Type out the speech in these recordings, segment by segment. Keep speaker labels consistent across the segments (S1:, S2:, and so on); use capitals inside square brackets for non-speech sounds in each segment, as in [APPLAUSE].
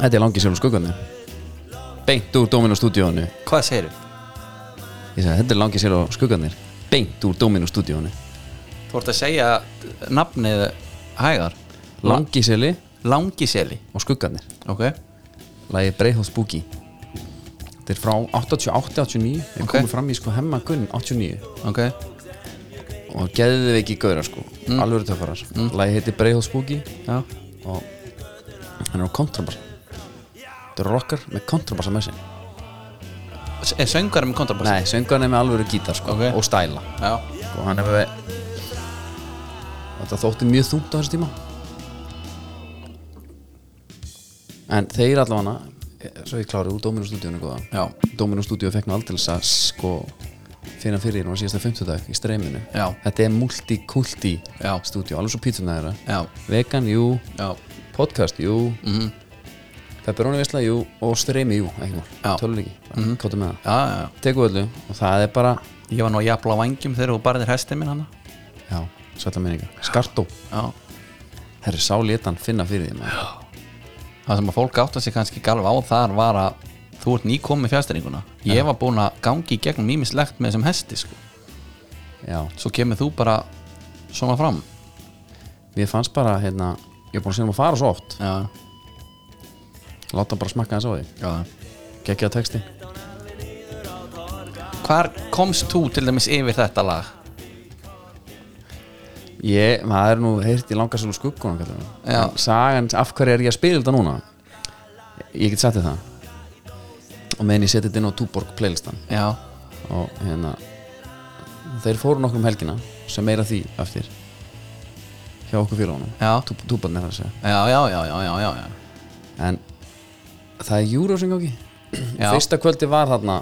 S1: Þetta er langið sjálf skuggandi Beint úr Dóminu stúdíónu
S2: Hvað segirðu?
S1: Ég sagði, þetta er langið sjálf skuggandi Beint úr Dóminu stúdíónu
S2: Þú ert að segja nafnið hægar
S1: Langið sjálfi
S2: Langiseli
S1: og skuggandir
S2: Ok
S1: Lægi Breiðhóð Spooky Þetta er frá 88-89 Ég
S2: Ok.
S1: okay. komið fram í sko hemma gunn 89
S2: Ok
S1: Og geðið við ekki gauðra sko mm. Alvöru töffarar mm. Lægi heiti Breiðhóð Spooky
S2: Já
S1: Og hann er á kontrabassa Þetta eru rockar með kontrabassa með sér
S2: S- Er söngar með kontrabassi?
S1: Nei, söngan er með alvöru gítar sko
S2: Ok.
S1: Og stæla
S2: Já
S1: og hann hefur verið þetta þótti mjög þungt á þessu tíma en þeir allavega eh, svo ég klári úr Dóminu stúdíunum góða
S2: Já
S1: Dóminu stúdíu fekk nú aldrei að sko finna fyrir nú á síðasta 50 dag í streiminu
S2: Já.
S1: þetta er multikulti
S2: Já.
S1: stúdíu, alveg svo pítuna þeirra
S2: Já
S1: vegan, jú,
S2: Já Mhm.
S1: podcast, jú mm -hmm. pepperónivisla, jú og streimi, jú, ekki
S2: Já. Mhm.
S1: mál, tölur ekki mm -hmm. káttum með það,
S2: Já, já, já.
S1: teku öllu og það er bara,
S2: Ég var nú að jafla á vangjum þegar þú barðir hestið minn hana
S1: já, sætla minningar skartó
S2: Já
S1: Herri, sá létan finna fyrir því maður.
S2: það sem að fólk átta sig kannski galv á þar var að þú ert nýkomin með fjastæringuna ég var búin að gangi í gegnum ímislegt með þessum hesti sko.
S1: Já,
S2: svo kemur þú bara svona fram
S1: mér fannst bara hérna, ég er búin að segja um að fara svo oft
S2: já,
S1: Láta bara smakka þess á því
S2: já.
S1: Gekkjaða texti
S2: hvar komst þú til dæmis yfir þetta lag
S1: Ég, maður er nú heyrt í langarsölu skuggunum kallar það.
S2: Já.
S1: En Sagan, af hverju er ég að spila þetta núna? Ég get sagt þér það Og meðan ég seti þetta inn á Túborg playlistan
S2: já,
S1: Og hérna Þeir fóru nokkrum um helgina sem meira því eftir Hjá okkur félagana
S2: Já.
S1: Túbarn er það að segja
S2: já, já, já, já, já, já.
S1: en það er Eurovision gangi
S2: Já.
S1: fyrsta kvöldi var þarna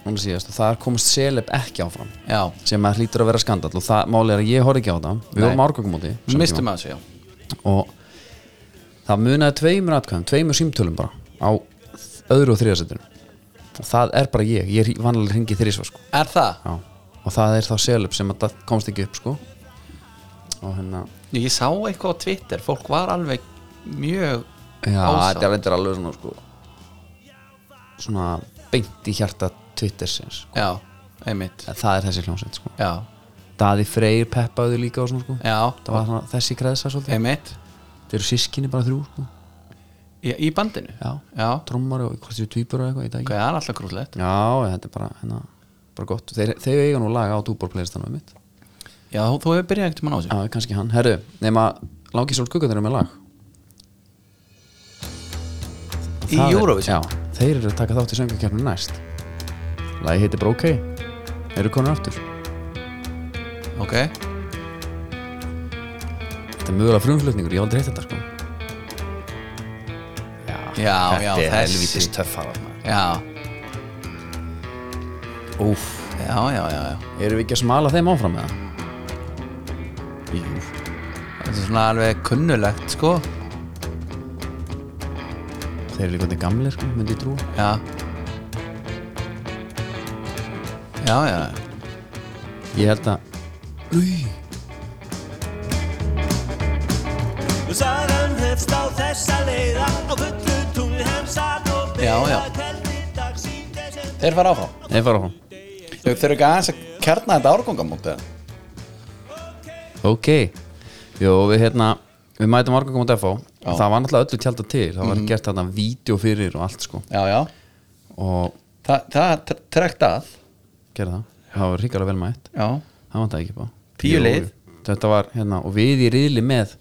S1: núna síðast og þar komst Celeb ekki áfram
S2: já.
S1: sem að hlýtur að vera skandall og það málið er að ég horf ekki á það við
S2: Nei.
S1: vorum árgangum á því á sama
S2: mistum að þessu, já
S1: tíma. og það munaði tveimur atkvæðum tveimur símtölum bara á öðru og þriðasettinu og það er bara ég, ég er vanlega hringi þrísvar sko.
S2: er það,
S1: Já. og það er þá Celeb sem að það komst ekki upp sko. og hérna
S2: ég sá eitthvað á Twitter fólk var alveg mjög
S1: Já,
S2: Ásamt.
S1: þetta er, þetta er alveg svona sko, svona beint í hjarta Twittersins sko.
S2: já, einmitt
S1: En það er þessi hljómsveit sko.
S2: já,
S1: Daði Freyr peppaði þau líka og svona sko.
S2: já,
S1: það var svona, þessi kreðsa svolítið
S2: einmitt
S1: þeir eru sískinni bara þrjú sko.
S2: í, í bandinu,
S1: Já,
S2: já.
S1: trommar og hvort þér tvípur og eitthvað í dag
S2: ok, það er alltaf grúslegt
S1: Já, þetta er bara, hérna, bara gott þeir, þeir eiga nú laga á Dúbor playlistanum mitt
S2: já, þú, þú hefur byrjað ekkert mann á þessu
S1: Já, kannski hann, herru, nema Langi Sól Guggan eru með lag
S2: Í
S1: Það er-
S2: Eurovision?
S1: Já, þeir eru að taka þátt í söngakefnum næst Lagi heitir bara OK Eru konur aftur
S2: ok,
S1: Þetta er mögulega frumflutningur, ég hef aldrei heitt þetta sko Já,
S2: Já, já, þessi.
S1: töffar
S2: já
S1: Úf,
S2: Já, já, já, já
S1: eru við ekki að smala þeim áfram með það? Jú
S2: Þetta er svona alveg kunnulegt, sko
S1: Þeir eru líka orðnir gamlir sko, myndi ég trúa
S2: Já Já, já, já.
S1: Ég held að Új,
S3: Og sagan hefst á þessa leiða á fullu tungli heimsat og
S2: Já, já.
S3: beina kveldi dags í desember.
S2: Þeir fara áfram
S1: þeir fara áfram
S2: Þau þurfa ekki aðeins að kjarna þetta árgangamóti
S1: Ok, jú við hérna Við mætum árgangum á DFO
S2: Já. Mhm.
S1: Það var náttúrulega öllu tjálta til Það var gert þarna vídeo fyrir og allt sko
S2: Já, já
S1: Og
S2: Þa, Það trekt að
S1: gerði það Það var ríkala vel mætt
S2: Já
S1: Það vantaði ekki bara
S2: Tíu lið.
S1: Þetta var hérna Og við í riðli með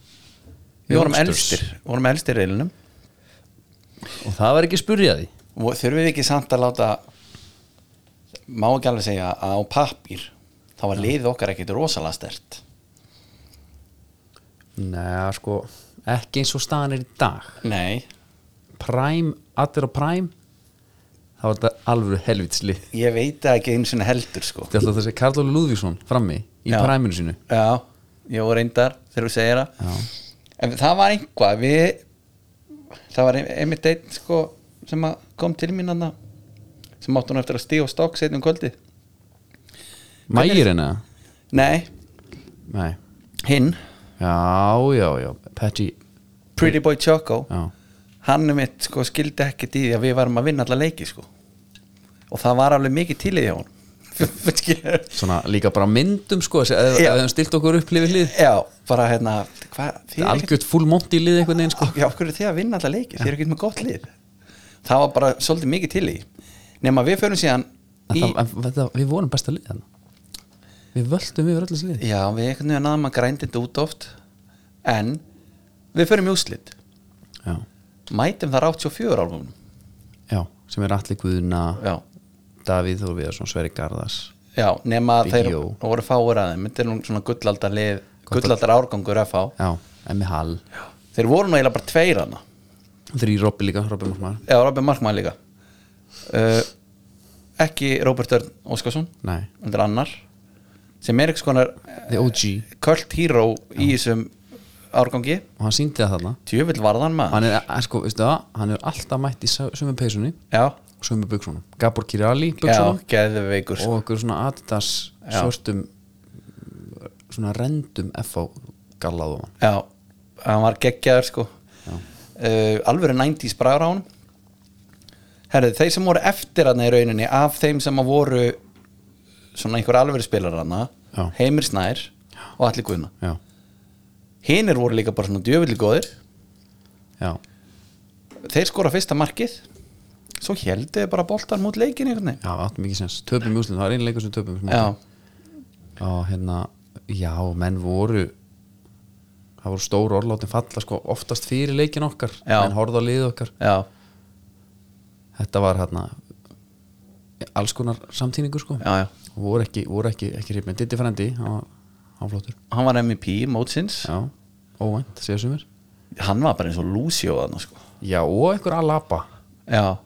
S2: Við vorum
S1: Youngsters.
S2: elstir Vorum elstir reilunum
S1: Og það var ekki spurjaði
S2: Og Þurfum við ekki samt að láta Má ekki alveg segja að á pappír Þá var liðið okkar ekkit rosalega stert
S1: Nei, sko Ekki eins og staðan er í dag
S2: Nei
S1: Prime, allir á Prime Það var þetta alvöru helvitsli
S2: Ég veit það ekki eins og heldur, sko
S1: Þetta er alltaf þessi Karl-Óli Lúðvíksson frammi Í
S2: Já.
S1: Prime-inu sínu
S2: Já, ég voru reyndar þegar þú segir það
S1: Já.
S2: En það var einhvað við, það var ein- einmitt einn sko, sem að kom til mín hana, sem átti hún eftir að stíga á stokk um setjum kvöldi
S1: Mægir henni það?
S2: Nei,
S1: Nei
S2: hinn
S1: Já, já, já, Patty
S2: Pretty Boy Choco
S1: Já.
S2: hann um eitt sko skildi ekkert í því að við varum að vinna alla leiki sko og það var alveg mikið tílið hjá [LAUGHS] hún skilur
S1: svona líka bara á myndum sko þessi- ef ef við
S2: Já.
S1: hefum stilt okkur upp liðið lið
S2: já, bara hérna hvað, þið er ekkert
S1: algjört full monti lið einhvern veginn sko
S2: já, okkur er þið að vinna alla leiki, þið er ekkert með gott lið það var bara svolítið mikið tílið nema við förum síðan
S1: en
S2: í,
S1: það, en, þetta, við vorum besta lið hann. við völdum yfir öllu lið
S2: já, við einhvern veginn aðeins maður grændi þetta út oft en við förum í úslit
S1: já,
S2: mætum þar 84 álfum
S1: já, sem er allir guðuna
S2: já,
S1: Davíð Þór Viðarsson, Sveri Garðars
S2: já, nema
S1: Big
S2: þeir
S1: Yo.
S2: voru fáir aðeins þetta er nú svona gullaldar lið gullaldar árgangur FH
S1: já, Emmi Hall
S2: þeir voru nú eiginlega bara tveir hana
S1: þrý Robby líka, Robby Mórsmaður
S2: eða Robin Markmann líka uh, ekki Robert Örn Óskarsson
S1: nei,
S2: undir annar sem er einhvers konar
S1: The OG
S2: kvöld híró í þessum árgangi
S1: og hann síndi það þarna
S2: djöfull varðan maður
S1: hann er, er, sko, veistu það, hann er alltaf mætt í sa- sömu peysunni
S2: já,
S1: og sömu buksunum Gabor Kirali
S2: já,
S1: buksunum
S2: geðveikur sko.
S1: og okkur svona Adidas
S2: Já.
S1: svörtum svona rendum FH gallaðu hann
S2: já, hann var geggjaður sko uh, alvöru 90s bragur á hann herðu, þeir sem voru eftir hann í rauninni af þeim sem að voru svona einhver alvöru spilar
S1: Já.
S2: hann Heimir Snær og allir guðna
S1: já,
S2: hinnir voru líka bara svona djöfull góðir
S1: já,
S2: þeir skora fyrsta markið svo heldu þau bara boltar mútt leikin einhvern veginn
S1: já, áttum ekki sens töpum í úslinni, það var einu leikur sem töpum í
S2: já,
S1: og hérna, já, menn voru það voru stóru orðlátin falla sko oftast fyrir leikin okkar
S2: Já.
S1: menn horfðu á liðið okkar
S2: já,
S1: þetta var hérna alls konar samtíningur sko
S2: já, já
S1: og voru ekki, voru ekki, ekki hrifnir Diddi Frendi, hann var- hann var flottur
S2: hann var MVP mótsins
S1: já, óvænt, séu sumir
S2: hann var bara eins og Lucio þarna sko
S1: já, og einhver Alaba,
S2: já,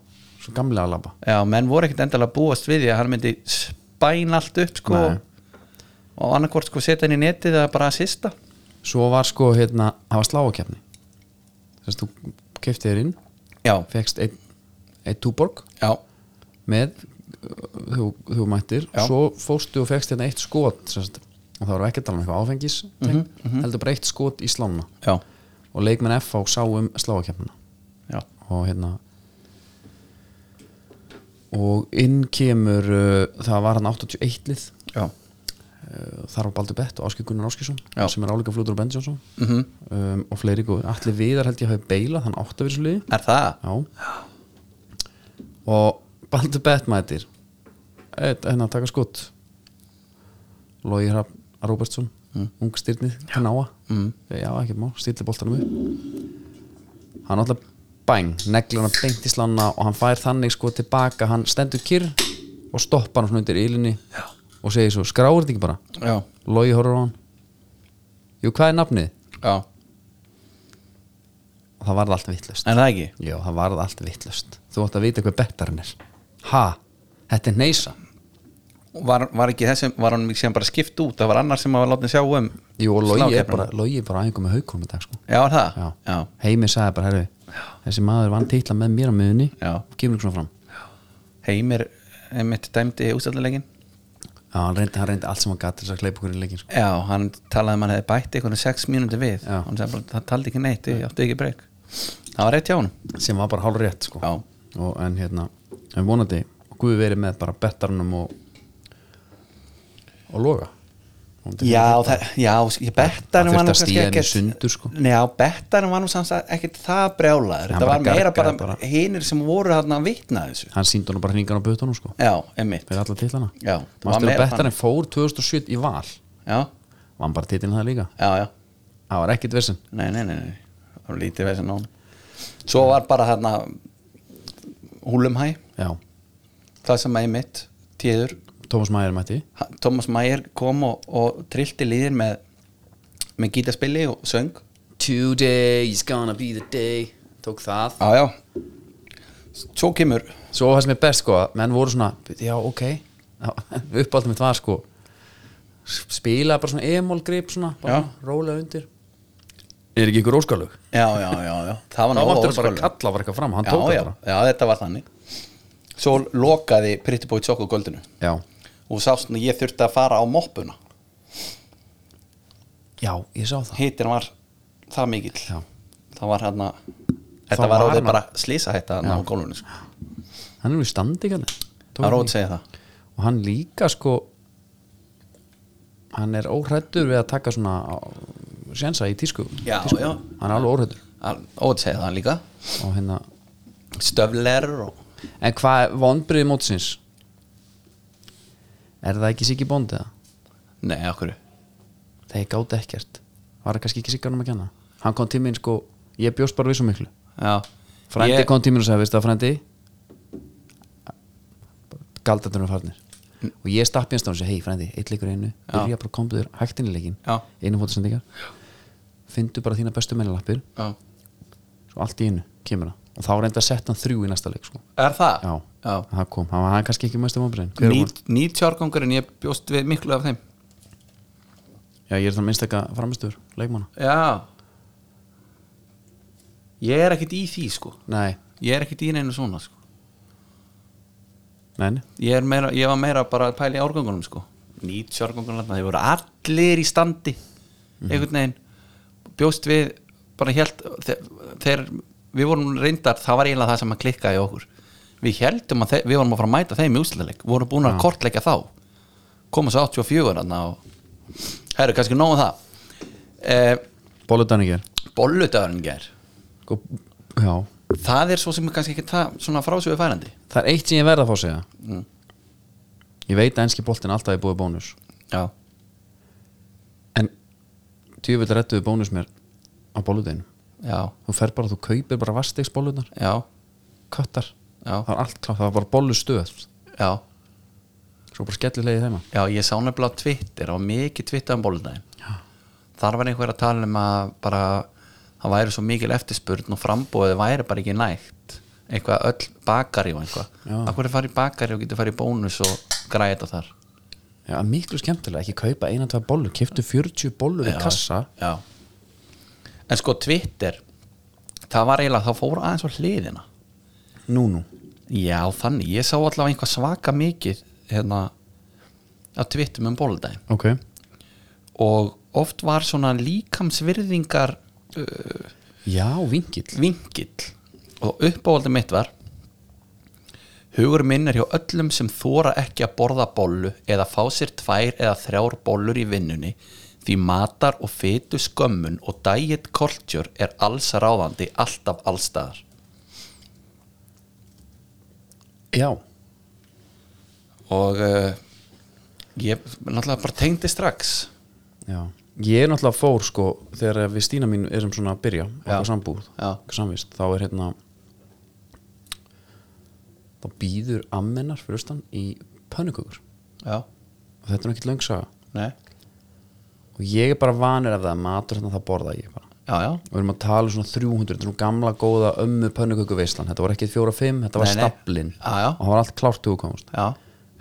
S1: svo gamli Alaba
S2: já, menn voru ekkert endalega að búast við því að hann myndi spæna allt upp sko
S1: Nei.
S2: og annarkvort sko setja hann í netið eða bara að sista
S1: svo var sko, hérna, það var sláakefni þess að þú kefti þér inn
S2: já,
S1: fegst einn ein túborg
S2: já,
S1: með uh, þú, þú mættir
S2: Já.
S1: svo fórstu og fegst hérna eitt skot sem sagt, og það var ekki að tala um eitthvað áfengis heldur bara eitt skot í slána
S2: já,
S1: og leikmenn F á sá um sláakefnina
S2: já
S1: og hérna og inn kemur uh, það var hann 81 lið
S2: já,
S1: uh, þar var Baldur Bett og Áskei Gunnar Áskisson
S2: Já.
S1: sem er álíka flútur og Ben Johnson
S2: mm
S1: um, og fleiri góð allir viðar held ég hafi beilað, hann átt að vera svo liði
S2: er það?
S1: já og Baldur Bett mætir Eitt, hérna taka skot Lói Hrafn Róbertsson mm. ungstyrnið, knáa mm. já, ekkert má, stýrli boltanum upp hann alltaf bæng neglur hann beint í slanna og hann fær þannig sko tilbaka, hann stendur kyrr og stoppar hann svona undir ylinni já. og segir svo, skráir þetta ekki bara
S2: já,
S1: Lói horfður á hann Jú, hvað er nafnið?
S2: já,
S1: Og það varð allt vittlust
S2: er það ekki?
S1: Jú, það varð allt vittlust Þú átt að vita hver bettarinn er Ha, þetta er neysa
S2: Var, var ekki þessum, var hann sem bara skipt út það var annar sem að var látið sjá um
S1: Jú, og Lói er
S2: slákeppnina.
S1: bara, Logi er bara aðingum með haukum í dag sko.
S2: já, er það?
S1: Já.
S2: já,
S1: Heimir sagði bara, herru Þessi maður vann titla með mér á miðunni
S2: Já.
S1: og kemur ykkur svona fram
S2: Heimir mitt dæmdi ústæðarlegin
S1: Já, hann reyndi, hann reyndi allt sem hann gat til þess að kleipa okkur í leikin sko.
S2: Já, hann talaði um að hann hefði bætt einhvern 6 mínúti við
S1: Já.
S2: hann sagði bara, það taldi ekki neitt, ég átti ekki breyk Það var rétt hjá hann
S1: sem var bara hálf rétt sko.
S2: Já.
S1: og, en hérna, en vonandi Guði verið með bara bettarnum og og loga Vonandi.
S2: Já, það, já, ég bettarum
S1: Það
S2: var nú
S1: þurfti að
S2: kannski
S1: stíga henni
S2: ekkert-
S1: sundur, sko.
S2: Nei, Já, bettarum var nú samt að ekkert það brjálaður
S1: Hann
S2: Þetta
S1: bara
S2: var meira
S1: gargaði
S2: bara,
S1: bara.
S2: hinir sem voru hann að vitna þessu
S1: hann síndi honum bara hringan á butunum sko.
S2: Já, emmitt
S1: fyrir alla titlana
S2: Já, það var
S1: Mastu að
S2: meira
S1: Bettarinn fór 2007 í val
S2: Já,
S1: vann bara titlinn það líka
S2: já, já,
S1: það var ekkit vissin
S2: nei, nei, nei, nei. Það var lítið veginn á hann Svo var bara hann Húlumhæ,
S1: já,
S2: það sem emmitt Tíður,
S1: Tómas Mæður mætti
S2: hann- Thomas Mayer kom og, og trillti liðin með, með gítaspili og söng
S1: Today is gonna be the day tók það
S2: Já, já Svo kemur
S1: svo það sem er best sko, að menn voru svona já, [LAUGHS] ok, uppáldum mitt var sko spila bara svona emol grip svona, bara
S2: Já.
S1: rólega undir er ekki ykkur óskalug
S2: Já, já, já, já Það var
S1: þá
S2: nóg
S1: vantur bara að
S2: óskaplega.
S1: kalla var eitthvað fram, hann tók
S2: já,
S1: það
S2: já,
S1: bara
S2: já, þetta var þannig Svo lokaði Pretty Boy Choco göldinu
S1: já,
S2: og sást að ég þurfti að fara á moppuna
S1: já, ég sá það
S2: Hittin var það mikill
S1: já,
S2: Það það var hann að þetta
S1: Það
S2: var
S1: var
S2: orðið
S1: hann.
S2: bara slísa hætta hann á gólfinu sko.
S1: hann er nú í standi ekki hann
S2: það er rót segja það
S1: og hann líka sko hann er óhrættur við að taka svona sjensa í tísku,
S2: Já,
S1: tísku.
S2: já.
S1: hann er alveg óhrættur
S2: rót segja það líka
S1: og hérna
S2: stöfler og
S1: en hvað er vonbriðið mótsins er það ekki Siggi Bond eða
S2: nei, okkur
S1: þeir gáti ekkert var það kannski ekki Sigganum að kenna hann kom tíminn sko, ég bjóst bara við svo miklu
S2: já
S1: frændi
S2: ég,
S1: kom tíminn og sagði, veist það frændi galdatunum farnir
S2: Mm.
S1: og ég stappi hans þá og segi, hei frændi, eitt leikur í einu byrja bara kompuður hægt inn í leikin
S2: Já.
S1: einu fótasendingar fyndu bara þína bestu mennlappir
S2: já.
S1: svo allt í einu kemur það og þá reyndi að setja hann þrjú í næsta leik sko.
S2: er það?
S1: já,
S2: já.
S1: það kom, hann var hann kannski ekki mæstu
S2: Ný,
S1: vonbreiðin
S2: nýtjárgangurinn, ég bjóst við miklu af þeim
S1: já, ég er þannig einstakka framistur leikmanna,
S2: já ég er ekkert í því sko
S1: nei,
S2: ég er ekkert í neinu svona sko
S1: nei, nei.
S2: ég, er meira, ég var meira bara að pæla í árgangunum sko. 90 árgangunum, þeir voru allir í standi einhvern veginn bjóst við bara held þegar við vorum reyndar það var eiginlega það sem að klikkaði í okkur við heldum að þeir, við vorum að fara að mæta þeim í úsleik vorum búin að kortleika þá komum svo 84 þarna og herru, kannski nógu það eh,
S1: bolludanningar
S2: bolludagurinn ger
S1: Sko, já,
S2: það er svo sem er kannski ekki það svona frásögu færandi
S1: það er eitt sem ég verð að fá að segja
S2: Mm.
S1: ég veit að enski boltin alltaf er búið bónus
S2: já,
S1: en tjöfull rettuðu bónus mér á bóludeginu
S2: já,
S1: þú fer bara, þú kaupir bara vastegs bólunar
S2: já,
S1: köttar,
S2: Já.
S1: það var allt klart það var bara bólustöð
S2: já
S1: svo bara skellir leiði þeim
S2: Já, ég sá nefnilega á Twitter og mikið Twitter um bóludaginn Þar var einhver að tala um að bara það væri svo mikil eftirspurn og frambóðið væri bara ekki nægt eitthvað öll bakari og
S1: Já.
S2: eitthvað Akkur er farið í bakari og getur farið í bónus og græði þetta þar
S1: já, miklu skemmtilega, ekki kaupa eina, tvei bólur keiftu 40 bólur í kassa
S2: Já En sko Twitter það var eiginlega, það fór aðeins á hliðina
S1: nú nú,
S2: Já, þannig, ég sá allavega einhvað svaka mikið hérna á Twitter um bóludaginn
S1: ok
S2: og oft var svona líkamsvirðingar uh,
S1: já, vingill,
S2: vingill og uppáhaldi mitt var hugur minn er hjá öllum sem þóra ekki að borða bollu eða fá sér tvær eða þrjár bollur í vinnunni því matar og fetu skömmun og diet culture er alls ráðandi alltaf allstaðar
S1: já
S2: og uh, ég náttúrulega bara tengdi strax
S1: já, ég er náttúrulega fór sko þegar við Stína mín erum svona að byrja okkar sambúð,
S2: Já.
S1: okkar samvist þá er hérna þá býður ammennar fyrir austan í pönnukökur
S2: já,
S1: og þetta er nú ekkert löngsaga
S2: nei,
S1: og ég er bara vanur af það að matur þannig að það borða ég bara
S2: já, já
S1: og við erum að tala um svona 300, þetta er nú gamla góða ömmu pönnuköku veislan, þetta voru ekki 4-5 þetta var
S2: Nei, nei.
S1: staplin
S2: Já, já.
S1: og það var allt klárt til úkomast
S2: já,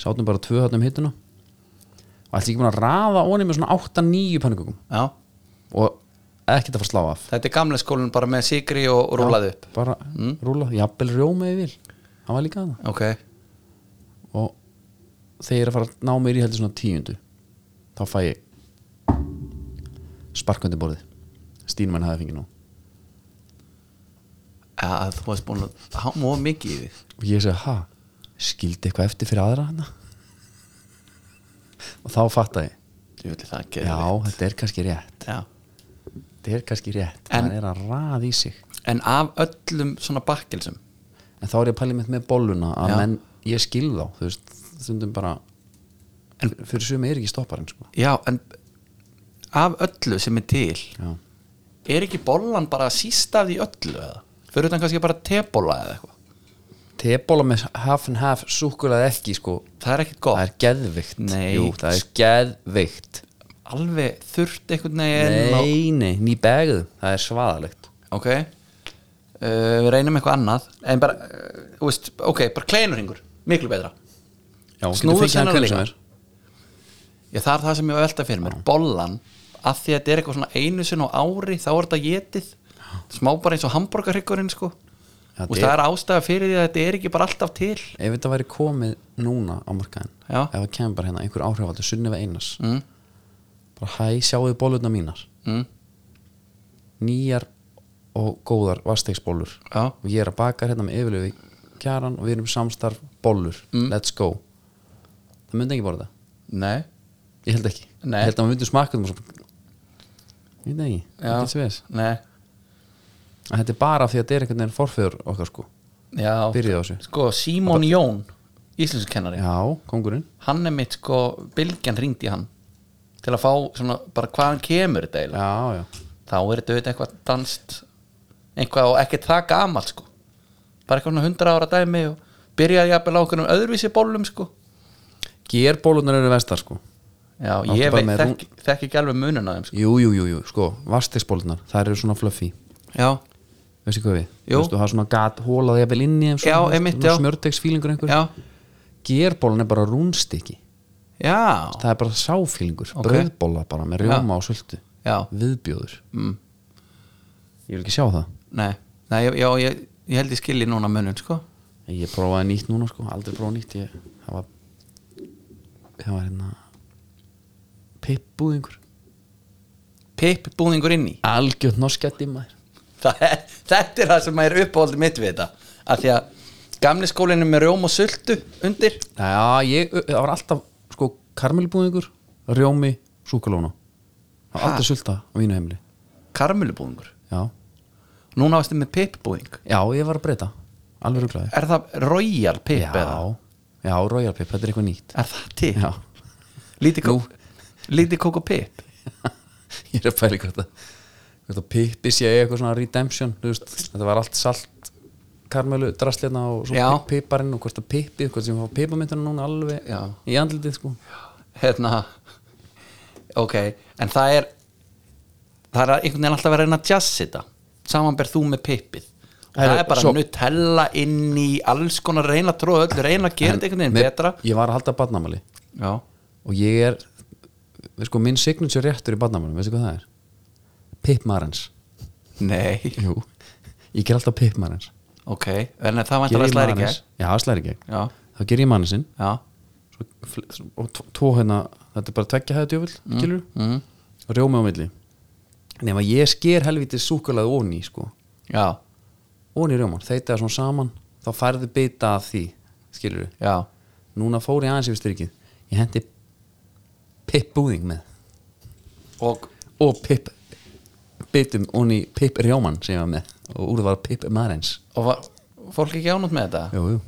S1: sátum bara tvö þarna um hittuna og allt ekki búin að raða onni með svona 8-9 pönnukökum
S2: já
S1: og ekkert að fara að slá af
S2: þetta er gamle skólinn bara með sigri og rúlaði upp
S1: bara mm. rúla, jafnvel rjóma ég vil hann var líka að
S2: ok,
S1: það og þegar ég er að fara að ná mér í heldur svona tíundu þá fæ ég sparkundi borðið Stínmann hafði fengið nú
S2: ja, þú varst búin að hann var mikið í því
S1: og ég segi, ha, skildi eitthvað eftir fyrir aðra hana og þá fatta ég
S2: Þú vilja það
S1: já,
S2: gera
S1: þetta er kannski rétt
S2: já.
S1: þetta er kannski rétt,
S2: En-
S1: það er að raða í sig
S2: En af öllum svona bakkelsum
S1: en þá er ég að pæli mitt með bolluna að
S2: Já.
S1: menn, ég skil þá, þú veist stundum bara, en, fyrir sumi er ekki stopparinn sko.
S2: Já, en af öllu sem er til
S1: Já.
S2: er ekki bollan bara síst af því öllu eða? Fyrir utan kannski bara tebolla eða eitthvað
S1: tebóla með half and half súkulega ekki, sko,
S2: Það er ekkit
S1: það
S2: gott
S1: er geðvikt
S2: Nei.
S1: Jú, það er geðvikt
S2: Alveg þurft einhvern veginn og...
S1: nei, nei, ný begðu, það er svaðalegt
S2: Ok uh, Við reynum eitthvað annað En bara, uh, þú veist, ok, bara kleinurringur Miklu betra
S1: já, hún getur
S2: Snúður
S1: fengið hann hvenær
S2: kennar
S1: sem
S2: líka.
S1: er.
S2: Já, það er það sem ég var að velta fyrir mér Bollan, af því að þetta er eitthvað svona einu sinn á ári þá er þetta getið smá bara eins og hambúrgarhyggurinn sko
S1: Já,
S2: og
S1: þetta
S2: það er ástæða fyrir því að þetta er ekki bara alltaf til
S1: ef þetta væri komið núna á markaðin
S2: Já.
S1: ef það kemur bara hérna einhver áhrifaldur Sunniva Einars mm. bara hæ, sjáuðu bólutna mínar
S2: mm.
S1: nýjar og góðar vastegsbólur
S2: Já.
S1: og ég er að baka hérna með yfirlegu kjaran og við erum samstarf bólur
S2: Mm.
S1: let's go það myndi ekki borða það,
S2: Nei,
S1: ég held ekki
S2: Nei.
S1: ég held að maður myndi smakka þeim og svo ég veit ekki,
S2: Já.
S1: ekki svegis
S2: nei
S1: að þetta er bara af því að þetta er einhvern veginn forföður okkar sko
S2: Já,
S1: Byrjið á þessu.
S2: Sko, Símon Jón, íslenskennari
S1: já, kongurinn
S2: Hann er mitt, sko, bylgjan hringdi í hann Til að fá, svona, bara hvaðan kemur þetta eiginlega
S1: já, já,
S2: Þá er þetta auðvitað eitthvað danst Eitthvað og ekkert það gamalt, sko Bara eitthvað svona hundra ára dæmi og byrjaði jafnvel á okkur um öðruvísi bólum, sko
S1: gerbólunar eru vestar sko
S2: Já,
S1: Áttu
S2: ég
S1: bara
S2: veit,
S1: með
S2: þekki, þekki ekki alveg munun á þeim, sko
S1: jú, jú, jú, jú, sko, vastegsbólunar þær eru svona fluffy
S2: Já,
S1: veistu hvað við,
S2: Jú.
S1: veistu, það er svona gat hólaði jafnvel inn í þeim
S2: Já, einmitt, já.
S1: smjördegsfílingur einhver
S2: já,
S1: gerbólan er bara rúnstykki
S2: já,
S1: það er bara sáfílingur,
S2: Ok.
S1: okay. brauðbóla bara með rjóma og sultu,
S2: já
S1: viðbjóður mm. ég vil ekki sjá það
S2: Nei, nei, já, ég, ég held ég skilji núna munun, sko
S1: ég prófaði nýtt núna sko, aldrei prófaði nýtt ég, það var það var hérna pippuð einhver
S2: Pipp búðingur inn í
S1: algjörn norskætti maður
S2: Það er, þetta er það sem er uppáhaldið mitt við þetta af því að gamli skólinn er með rjóm og sultu undir
S1: já, ég, það var alltaf sko karmelbúðingur, rjómi súkulóna, það var aldrei sulta á mínu heimili,
S2: karmölubúðingur
S1: já
S2: núna varstu með pippbúðing
S1: já, ég var að breyta, alveg ruglaði
S2: er það royal pipp eða?
S1: já, já, royal pip, þetta er eitthvað nýtt
S2: er það til?
S1: já,
S2: lítið kók lítið kók og pipp
S1: [LAUGHS] ég er að pæli hvort að hvort að pippi sé eitthvað svona redemption þú veist, þetta var allt salt karmelu drastlina og svo
S2: Já.
S1: pipparinn og hvort að pippi, hvort sem fá pippamyndina núna alveg
S2: Já.
S1: í andlitið sko
S2: hérna ok, en það er það er einhvern veginn alltaf að reyna að jazz þetta samanberð þú með pippið og það
S1: Herru,
S2: er bara
S1: svo-
S2: nutella inn í alls konar reyna að tróða öllu reyna að gera þetta einhvern veginn
S1: með-
S2: betra
S1: ég var að halda badnamali
S2: já,
S1: og ég er við sko, minn signature réttur í badnamalum, veistu hvað það er? Pippmarens
S2: nei
S1: Jú, ég ger alltaf pippmarens
S2: Ok, en það vantar að slæri ekki
S1: Já, það slæri gegn
S2: Já,
S1: Þá ger ég mannesinn
S2: já,
S1: svo, fl- svo- og tvo- tvo hérna þetta er bara tveggja hæða djöfull mm. mm. og rjómi á milli nema ég sker helvítið súkulaði onni sko.
S2: já,
S1: onni rjóman, þeita það svona saman þá færðu bita af því skilur
S2: já
S1: núna fór ég aðeins yfir strikið ég hendi pippbúðing með
S2: Og,
S1: og pipp bitum onni pipp rjóman sem ég var með og úr það var pipp marins
S2: og var, fólk ekki ánútt með þetta?
S1: jú, jú,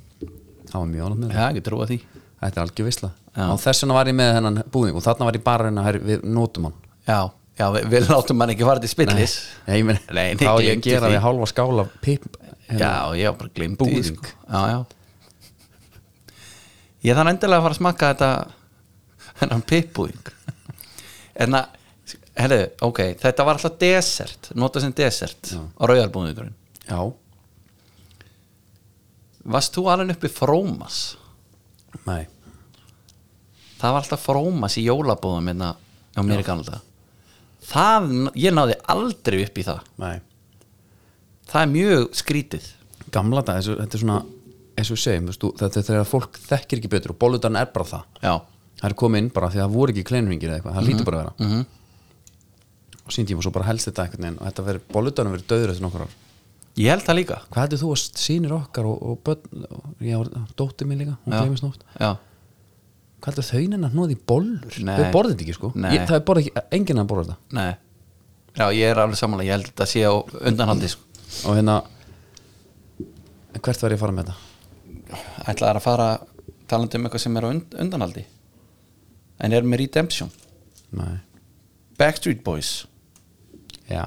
S1: það var mjög ánægt með það
S2: Já, ekki trúa því
S1: þetta er algjör visla
S2: Já.
S1: og þess vegna var ég með hennan búðing og þarna var ég bara hérna að reyna að herri, við notum hann
S2: Já, já, við, við látum hann ekki fara til spillis
S1: Nei, ég meina,
S2: Nei,
S1: þá er ég að
S2: gleymdu
S1: gera
S2: því.
S1: við hálfa skála pip hérna.
S2: Já, ég var bara glimt því
S1: Búðing.
S2: sko. Já, já Ég þann endilega að fara að smakka þetta hennan pippbúðing En að, Hérna, herðu, ok Þetta var alltaf desert, notað sem desert
S1: Já.
S2: á rauðarbúðingurinn
S1: Já,
S2: Varst þú alveg uppi frómas?
S1: nei
S2: það var alltaf frómas í jólabóðum hérna á mér í gamla daga. það, ég náði aldrei upp í það
S1: Nei
S2: það er mjög skrítið
S1: Gamla dag, þessu, þetta er svona eins og við segjum, veistu, þetta er þegar fólk þekkir ekki betur og bollutan er bara það
S2: já,
S1: Það er komið inn bara því að það voru ekki kleinringir eða eitthvað, það
S2: Mhm.
S1: lítur bara að vera mm -hmm. og síndíma svo bara helst þetta einhvern veginn og þetta verið, bollutanum verið döður eftir nokkur ár
S2: ég held það líka
S1: Hvað heldur þú að sýnir okkar og, og, börn, og já, dóttir mín líka, hún
S2: já,
S1: gleymist nótt
S2: já,
S1: Hvað heldur þaunin að nóði bollur?
S2: Nei.
S1: Þau borðið þetta ekki sko,
S2: Nei.
S1: ég, það er borðið ekki, enginn að borða þetta
S2: nei já, ég er alveg samanlega, ég held þetta sé á undanhandi sko.
S1: og hérna en hvert var ég að fara með þetta?
S2: ætlaðar að fara talandi um eitthvað sem er á und undanhaldi en er með Redemption
S1: Nei.
S2: Backstreet Boys
S1: Já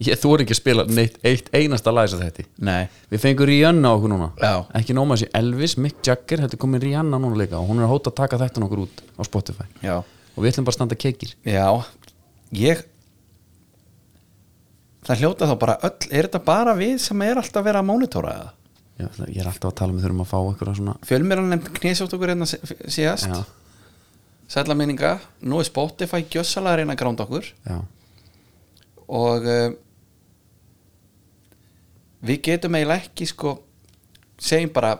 S1: Ég þóri ekki að spila neitt eitt einasta læs að þetta
S2: nei,
S1: Við fengum Rihanna á okkur núna
S2: Já.
S1: Ekki nóma þessi Elvis, Mick Jagger Þetta er komin Rihanna núna líka og hún er að hóta að taka þetta okkur út á Spotify
S2: já
S1: og við ætlum bara að standa keikir
S2: Já, ég Það hljóta þá bara öll Er þetta bara við sem er alltaf að vera að mónitóra eða?
S1: Ég, ætla- ég er alltaf að tala með þurfum að fá einhverja svona
S2: Fjölmjörn nefnd knésjótt okkur einna hérna síðast
S1: Já.
S2: Sætla minninga Nú er Spotify gjössalega að reyna að gránda okkur
S1: Já,
S2: Og uh, Við getum eiginlega ekki sko Segjum bara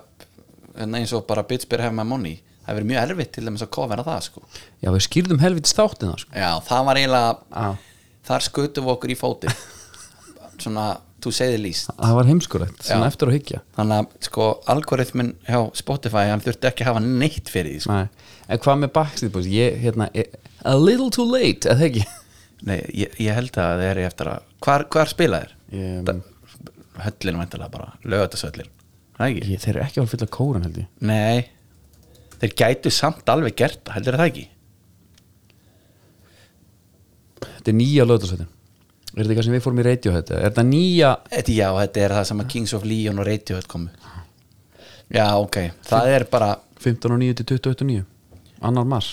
S2: en eins og bara Bitsbyr hef my money Það verið mjög erfitt til dæmis að kofera það sko
S1: Já við skýrðum helvitist þáttin það sko.
S2: Já, það var eiginlega
S1: Já.
S2: Þar skutum við okkur í fótið svona to say the least
S1: það var heimskulegt, svona
S2: Já.
S1: eftir að hyggja
S2: þannig að sko algoritmin hjá Spotify hann þurfti ekki að hafa neitt fyrir því sko.
S1: Nei. en hvað með Backstreet Boys ég, hérna, ég, a little too late eða ekki
S2: Nei, ég, ég held að þeir eru eftir að hvar, hvar spila þeir?
S1: Ég- um-
S2: Da- höllin væntalega bara, lögatarsöllin það ekki?
S1: ég, þeir eru ekki að fylla kóran held ég
S2: Nei, þeir gætu samt alveg gert það, heldur það ekki?
S1: þetta er nýja lögdagsveitin er þetta eitthvað sem við fórum í radio þetta er þetta nýja
S2: Þetta, já, þetta er það sem að Kings of Leon og Radiohead komu Já, ok, það er bara
S1: 15 og 9 til 20.89 annar mars,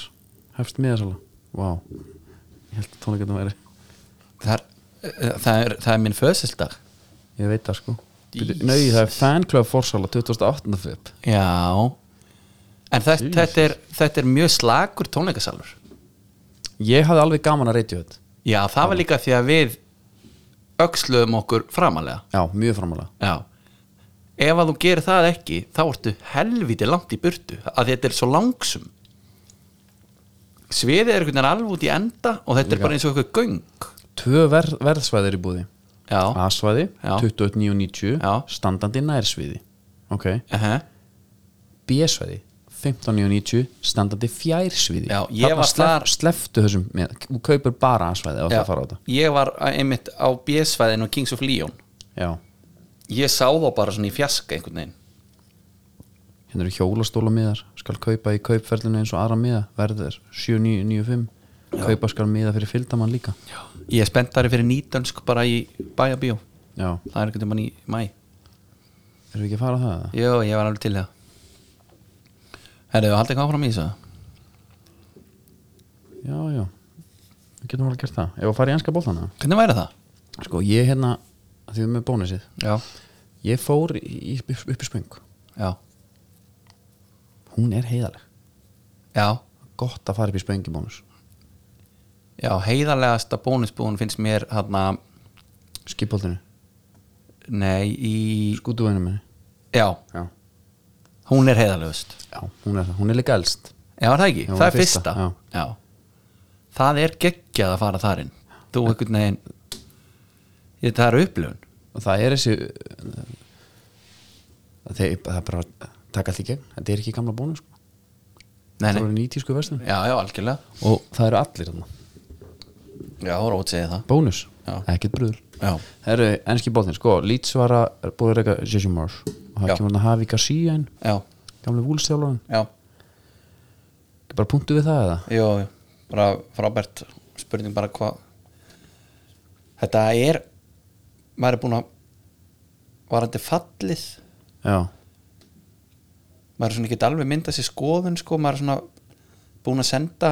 S1: hefst miðasala vá, ég held að tónleikandum væri
S2: það er, það er, það er minn föðsildag
S1: ég veit það sko Bíddu,
S2: Jesus.
S1: Nei, það er fanclub forsala 2008. feb
S2: Já En þetta, þetta, er, þetta er mjög slagur tónleikasalur
S1: Ég hafði alveg gaman að radio þetta
S2: Já, það var líka því að við öxluðum okkur framalega
S1: Já, mjög framalega
S2: Já Ef að þú gerir það ekki, þá ertu helviti langt í burtu að þetta er svo langsum Sviðið er einhvern veginn alveg út í enda og þetta er bara eins og eitthvað göng
S1: Tvö ver verðsvæðir í búði
S2: Já, uh
S1: A-svæði,
S2: Já.
S1: 29.90
S2: Já.
S1: standandi nærsviði Ok
S2: -huh.
S1: B-svæði, 15.90 standandi fjársviði
S2: Já, ég var þar-
S1: Sleftu þessum, með- þú kaupir bara A-svæði ef það fara á þetta
S2: ég var eh, einmitt á B-svæðinu á Kings of Leon
S1: Já,
S2: Ég sá þá bara svona í fjaska einhvern veginn
S1: hérna eru hjólastóla miðar skal kaupa í kaupferðinu eins og aðra miða verður 7.995 kaupa skal miða fyrir fylgdaman líka
S2: Ég er spenntari fyrir nýtönsk bara í bæjabíó
S1: Já,
S2: Það er einhvern veginn í mæ
S1: erum við ekki að fara á það? eða?
S2: Jó, ég var alveg til í það Herðu, haldið hvað áfram í þessu?
S1: Já, já, við getum alveg gert það Ef að fara í enska bóltana
S2: Hvernig væri það?
S1: Sko, ég hérna, að því við erum með bónusið
S2: Já,
S1: Ég fór í, í- upp í spöng
S2: já,
S1: Hún er heiðaleg
S2: já
S1: Gott að fara upp í spöng í bónus
S2: Já, heiðarlegasta bónusbúin finnst mér hérna,
S1: Skipoltinu,
S2: nei, í
S1: skútuvæðinu minni
S2: já,
S1: Já,
S2: hún er heiðarlegust
S1: já, hún er það, hún er líka elst
S2: Já, er það ekki,
S1: Já,
S2: það er fyrsta,
S1: já.
S2: Já. Það er geggjað að fara þar inn Þú einhvern veginn Ég, það er upplifun
S1: Og það er þessi uh, Það er, það er bara að taka allt í gegn Þetta er ekki gamla bónus sko. Það
S2: nei, nei.
S1: eru nýtísku verslun
S2: Já, já, algjörlega
S1: Og það eru allir þarna
S2: Já, Rót segi það
S1: Bónus,
S2: Já.
S1: ekkert brúður
S2: Já,
S1: Það eru enski bóttin, sko, Leeds var að búið að reyka Jesse Mars og það
S2: Já.
S1: kemur hann að hafi Garcia inn
S2: já,
S1: gamlega vúlstjálfarinn,
S2: já,
S1: bara punktu við það eða?
S2: já, já. bara frábært spurning bara hvað Þetta er maður er búin að varandi fallið
S1: Já,
S2: maður er svona ekki alveg myndað sér skoðun sko, maður er svona búin að senda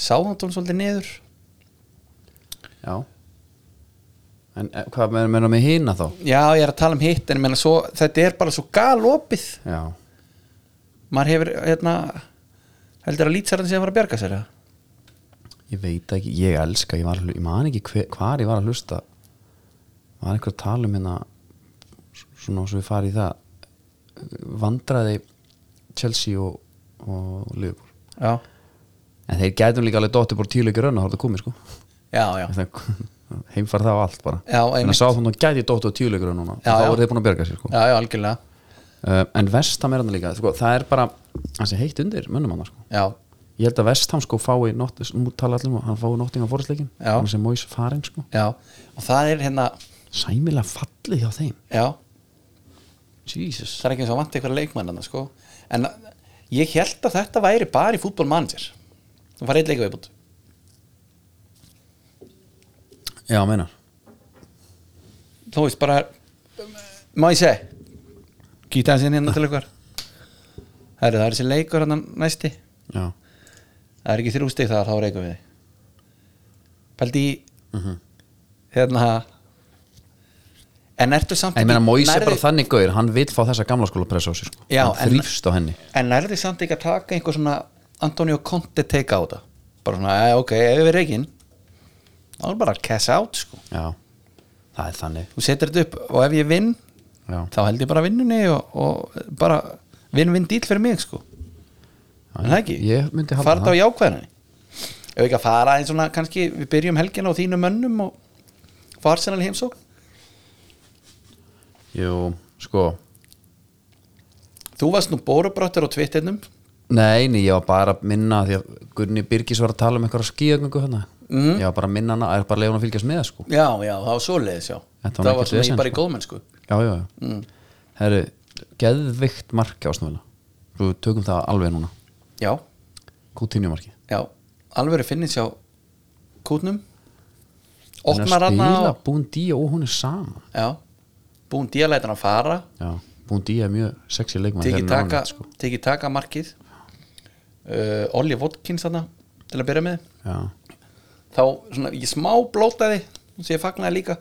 S2: sáðantón svolítið niður
S1: Já En eh, hvað menn, menna með hina þá?
S2: já, ég er að tala um hitt en ég meina svo, þetta er bara svo galopið
S1: Já
S2: maður hefur, hérna heldur að lýtsarðan sé að fara að bjarga sér eða?
S1: Ég veit ekki, ég elska, ég, var, að hlu- ég man ekki hver, hvar ég var að hlusta Var einhver að tala um hérna Svona svo við farið í það Vandraði Chelsea og, og Liverpool
S2: já,
S1: En þeir gætum líka alveg dottir bara tíu leikir raun og það komið sko
S2: já, já
S1: [LAUGHS] Heimfar það á allt bara
S2: Já,
S1: En
S2: einmitt.
S1: að sá þannig gæti dottir tíu leikir raun og
S2: Já,
S1: þá
S2: já.
S1: voru þeir búin að berga sér sko
S2: já, já, algjörlega
S1: uh, En vestam er hann líka, sko, það er bara Þessi heitt undir mönnum hann sko
S2: já,
S1: ég held að Vestham sko fái not, nú tala allir um, hann fái nottinga fórhastleikin
S2: Já.
S1: hann sem Móis farin sko
S2: já, og það er hérna
S1: sæmilega fallið hjá þeim
S2: já,
S1: Jesus.
S2: það er ekki eins og vanti eitthvað leikmennana sko. en ég held að þetta væri bara í fútbolmanager þú farið eitt leikaveibund
S1: já meinar
S2: þú veist bara má ég segja gýta hans inn hérna
S1: [LAUGHS]
S2: til ykkur Herru, það er þessi leikur hann næsti
S1: já.
S2: það er ekki þrjú stig þar, þá reikum við þig pældi í
S1: Mhm.
S2: hérna en ertu samt
S1: en ég meina Móis er
S2: nærðu-
S1: bara þannig gauður hann vil fá þessa gamla skóla pressa á sig sko
S2: Já,
S1: hann
S2: en-
S1: þrýfst á henni
S2: en nærði samt ekki að taka einhver svona Antonio Conte teika á þetta bara svona, "Æ, ok, ef við reikin þá er bara að cash out sko
S1: já það er þannig
S2: þú setur þetta upp og ef ég vinn
S1: já,
S2: þá held ég bara vinnunni og, og bara vinn-vinn díl fyrir mig sko en það ekki
S1: ég myndi halda
S2: fara þetta
S1: það
S2: á jákvæðinni ef ekki að fara eins svona kannski við byrjum helgina á þínum mönnum og Var Arsenal í heimsók?
S1: Jú, sko
S2: Þú varst nú bórubrattur á tvittinnum
S1: Nei, nei, ég var bara að minna því að Gunni Birgis var að tala um einhverja skíðagöngu hérna Ég var bara að minna hana, er bara að leiða hún að fylgjast með sko.
S2: Já, já, það var svoleiðis, já
S1: Þetta var nú
S2: Það var
S1: ekkert
S2: svona
S1: vesen,
S2: í bara í
S1: sko.
S2: góðmennsku
S1: Já, já, já mm. Herru, geðvikt marki ásnúðina Svo við tökum það alveg núna
S2: Já,
S1: Kútinjumarki
S2: já, alveg er finnins hjá kútnum
S1: Hún er
S2: Opnar
S1: að
S2: hann
S1: spila
S2: á
S1: búin díja og hún er saman
S2: Já, búin díalætan að fara
S1: Já, búin díja er mjög sexy leikmann
S2: Tiki
S1: þegar hann er
S2: taka,
S1: ánægt, sko.
S2: tiki taka markið uh, Olli Votkins þarna til að byrja með
S1: Já,
S2: þá svona, ég smá blótaði sem ég fagnaði líka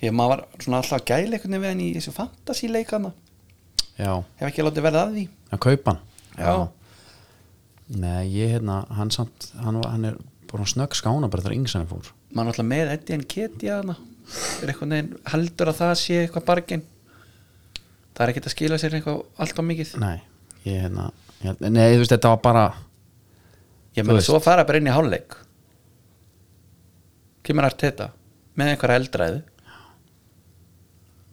S2: því að maður var svona alltaf að gæla einhvern veginn við henni í þessu fantasíleikana
S1: já,
S2: hef ekki látið verið að því
S1: að kaupa hann
S2: Já.
S1: Nei, ég hérna, hann samt hann, var- hann er bara snögg skána bara þar yngsæmi fór
S2: maður er alltaf með Eddie en Ketja hana er einhvern veginn heldur að það sé eitthvað bargin það er ekkert að skila sér eitthvað alltaf mikið
S1: Nei, ég hérna ég, held- Nei, þú veist, þetta var bara
S2: ég meina
S1: Þú
S2: svo fara bara inn í hálfleik kemur Arteta með einhverja eldræðu